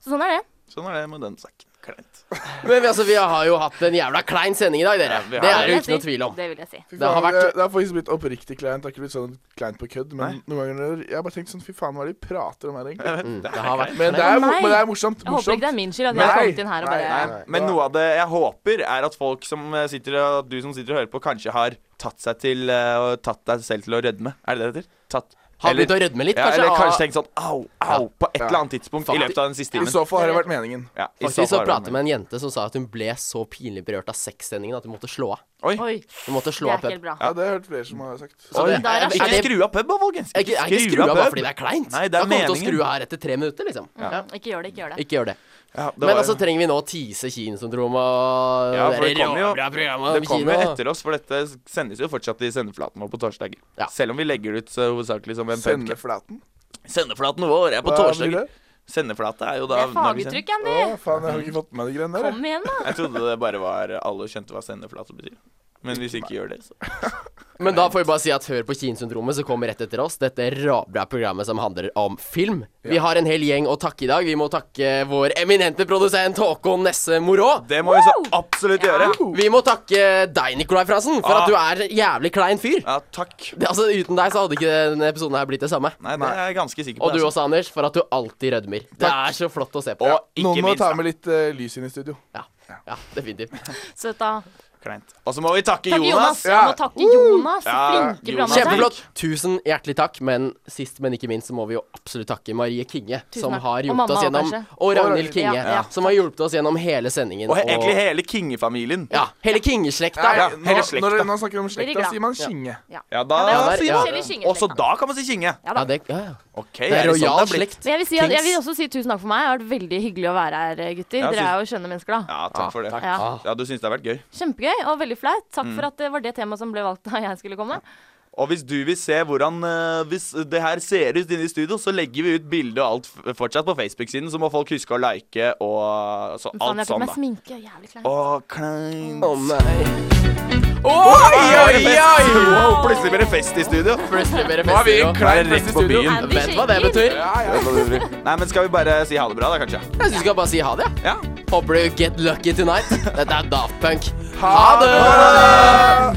Speaker 4: Så sånn er det.
Speaker 5: Sånn er det med den saken. kleint.
Speaker 3: Men vi, altså, vi har jo hatt en jævla klein sending i dag, dere.
Speaker 5: vi
Speaker 3: det er
Speaker 4: Det vil
Speaker 5: har
Speaker 3: det jo
Speaker 4: jeg
Speaker 3: ikke noe
Speaker 4: si.
Speaker 3: tvil om.
Speaker 4: Det vil jeg si.
Speaker 6: Fy
Speaker 3: Det har
Speaker 6: faen,
Speaker 3: vært-
Speaker 6: det har faktisk blitt oppriktig kleint. Det har ikke blitt sånn kleint på kødd. Men noen ganger når- jeg har bare tenkt sånn Fy faen, hva er det de prater om her, egentlig?
Speaker 3: Det har vært
Speaker 6: Men det er, mo-
Speaker 4: Nei.
Speaker 6: men det er morsomt.
Speaker 4: Jeg håper
Speaker 6: morsomt.
Speaker 4: ikke det er min skyld at jeg har
Speaker 6: Nei,
Speaker 4: kommet inn her og
Speaker 6: nei,
Speaker 4: bare
Speaker 6: nei.
Speaker 5: Men noe av det jeg håper, er at folk som eh, sitter og du som sitter og hører på, kanskje har tatt seg til eh, og tatt deg selv til å rødme. Er det det det heter? Tatt.
Speaker 3: Har
Speaker 5: eller-
Speaker 3: begynt å rødme litt,
Speaker 5: Ja,
Speaker 3: kanskje.
Speaker 5: eller
Speaker 3: av-
Speaker 5: kanskje tenkt sånn au,
Speaker 3: Ja.
Speaker 5: au, på et
Speaker 6: Ja.
Speaker 5: eller annet tidspunkt i
Speaker 3: Faktisk-
Speaker 5: løpet av den siste
Speaker 6: I
Speaker 5: timen.
Speaker 6: så fall har det vært meningen.
Speaker 5: Ja, i så
Speaker 3: Faktisk så
Speaker 5: fall er det
Speaker 3: prater jeg med en jente som sa at hun ble så pinlig berørt av sexsendingen at hun måte slå av.
Speaker 4: Oi,
Speaker 3: Hun måtte
Speaker 4: det
Speaker 3: slå av
Speaker 4: er ikke
Speaker 3: pub.
Speaker 4: helt bra.
Speaker 6: Ja, det har jeg hørt flere som har sagt.
Speaker 5: Oi,
Speaker 3: det-
Speaker 4: er-
Speaker 5: ikke
Speaker 3: er det-
Speaker 5: skru av pub, da, folkens.
Speaker 3: Jeg, jeg, jeg skru av bare fordi det er kleint.
Speaker 5: Nei, det er
Speaker 3: jeg kommer til å
Speaker 5: meningen.
Speaker 3: skru av her etter tre minutter, liksom. Ja.
Speaker 4: Ikke gjør det, ikke gjør det.
Speaker 3: Ikke gjør det.
Speaker 5: Ja, det
Speaker 3: Men
Speaker 5: var-
Speaker 3: altså, trenger vi nå å tease kinsyndromet og
Speaker 5: Ja, for det
Speaker 3: der
Speaker 5: kommer jo-
Speaker 3: jævla programmet om
Speaker 5: det kommer jo
Speaker 3: kino?
Speaker 5: etter oss, for dette sendes jo fortsatt i sendeflaten vår på torsdager.
Speaker 3: Ja.
Speaker 5: Selv om vi legger det ut så hovedsakelig som en podcast.
Speaker 6: Sendeflaten.
Speaker 5: Sendeflaten vår er på
Speaker 6: Hva blir
Speaker 5: torsdager.
Speaker 6: det?
Speaker 5: Sendeflate er jo
Speaker 4: Det
Speaker 5: da
Speaker 4: er
Speaker 5: når vi sender.
Speaker 4: faguttrykk, Andy.
Speaker 6: Å, faen, jeg har ikke fått med meg de greiene der. jeg.
Speaker 4: Kom igjen, da.
Speaker 5: Jeg trodde det bare var alle skjønte hva sendeflate betyr. Men hvis vi ikke gjør det, så
Speaker 3: Men da får vi bare si at hør på Kinsyndromet, som kommer rett etter oss. Dette rabra programmet som handler om film. Vi har en hel gjeng å takke i dag. Vi må takke vår eminente produsent Håkon Nesse Morå.
Speaker 5: Det må vi så absolutt gjøre.
Speaker 3: Vi må takke deg, Nikolai Fransen, for
Speaker 5: Ah.
Speaker 3: at du er en jævlig klein fyr.
Speaker 5: Ja, takk.
Speaker 3: Det, altså, Uten deg så hadde ikke denne episoden her blitt det samme.
Speaker 5: Nei, det er jeg ganske sikker på.
Speaker 3: Og du
Speaker 5: altså.
Speaker 3: også, Anders, for at du alltid rødmer. Det er så flott å se på.
Speaker 5: Og ikke
Speaker 6: Noen må
Speaker 5: minst
Speaker 6: ta
Speaker 5: da,
Speaker 6: med litt eh, lys inn i studio.
Speaker 3: Ja, ja definitivt.
Speaker 4: Søt, da.
Speaker 5: kleint. Og så må vi takke
Speaker 4: Takk, Jonas.
Speaker 5: Jonas.
Speaker 4: Jeg må takke Jonas.
Speaker 5: Ja,
Speaker 4: Flinke
Speaker 5: Jonas.
Speaker 4: programleder.
Speaker 3: Kjempeflott. Tusen hjertelig takk. Men sist, men ikke minst, så må vi jo absolutt takke Marie Kinge,
Speaker 4: Tusen
Speaker 3: som
Speaker 4: takk.
Speaker 3: har
Speaker 4: Og
Speaker 3: hjulpet
Speaker 4: mamma
Speaker 3: oss
Speaker 4: også,
Speaker 3: gjennom
Speaker 4: kanskje.
Speaker 3: Og Ragnhild
Speaker 6: Ragnhild,
Speaker 3: Kinge,
Speaker 4: ja, ja.
Speaker 3: som har hjulpet oss gjennom hele sendingen.
Speaker 5: Og he- egentlig hele Kinge-familien.
Speaker 3: Ja, hele Kinge-slekta.
Speaker 6: Nei,
Speaker 5: Ja,
Speaker 6: nå,
Speaker 5: hele slekta.
Speaker 6: når når man snakker om
Speaker 4: rigger,
Speaker 6: slekta,
Speaker 4: da.
Speaker 6: sier man skinge.
Speaker 5: Ja, da
Speaker 4: Ja, det er
Speaker 3: ja.
Speaker 4: forskjellig skingeslekt,
Speaker 5: Også
Speaker 4: da.
Speaker 5: da kan man si Kinge.
Speaker 3: Ja, det, ja, ja.
Speaker 5: Ok,
Speaker 3: det er
Speaker 5: det sånn
Speaker 3: rojal
Speaker 5: det er blitt?
Speaker 3: slekt.
Speaker 4: Men jeg vil, si at, jeg vil
Speaker 3: Kings.
Speaker 4: også si tusen takk for meg. Det har vært veldig hyggelig å være her, eh, gutter.
Speaker 5: Ja,
Speaker 4: Dere
Speaker 5: tusen-
Speaker 4: er jo skjønne mennesker, da.
Speaker 5: Ja, takk for det.
Speaker 3: takk.
Speaker 4: Ja.
Speaker 5: Ja, Du syns det har vært gøy.
Speaker 4: Kjempegøy og veldig flaut. Takk for at det var det temaet som ble valgt da jeg skulle komme.
Speaker 5: Og hvis du vil se hvordan eh, Hvis det her ser ut inne i studio, så legger vi ut bilde og alt f- fortsatt på Facebook-siden, så må folk huske å like og så,
Speaker 4: Men faen,
Speaker 5: alt
Speaker 4: jeg tok
Speaker 5: sånn,
Speaker 4: meg
Speaker 5: da.
Speaker 4: sminke. Jævlig klein.
Speaker 5: Å, kleint.
Speaker 3: Å nei.
Speaker 5: Oi, oi, oi! Wow, plutselig blir det fest i studio.
Speaker 3: Plutselig blir det
Speaker 6: Nå er vi
Speaker 3: fester og
Speaker 5: Er
Speaker 6: klein
Speaker 5: det
Speaker 6: fest
Speaker 5: rett
Speaker 6: i
Speaker 5: på
Speaker 6: studio.
Speaker 5: byen?
Speaker 4: Andy
Speaker 3: Vet hva det
Speaker 4: Schenker.
Speaker 3: betyr?
Speaker 6: Ja, ja.
Speaker 5: Nei, men skal vi bare si ha det bra, da, kanskje?
Speaker 3: Jeg syns vi skal bare si ha det.
Speaker 5: Ja.
Speaker 3: Håper du get lucky tonight. Dette er Daft Punk. Ha det!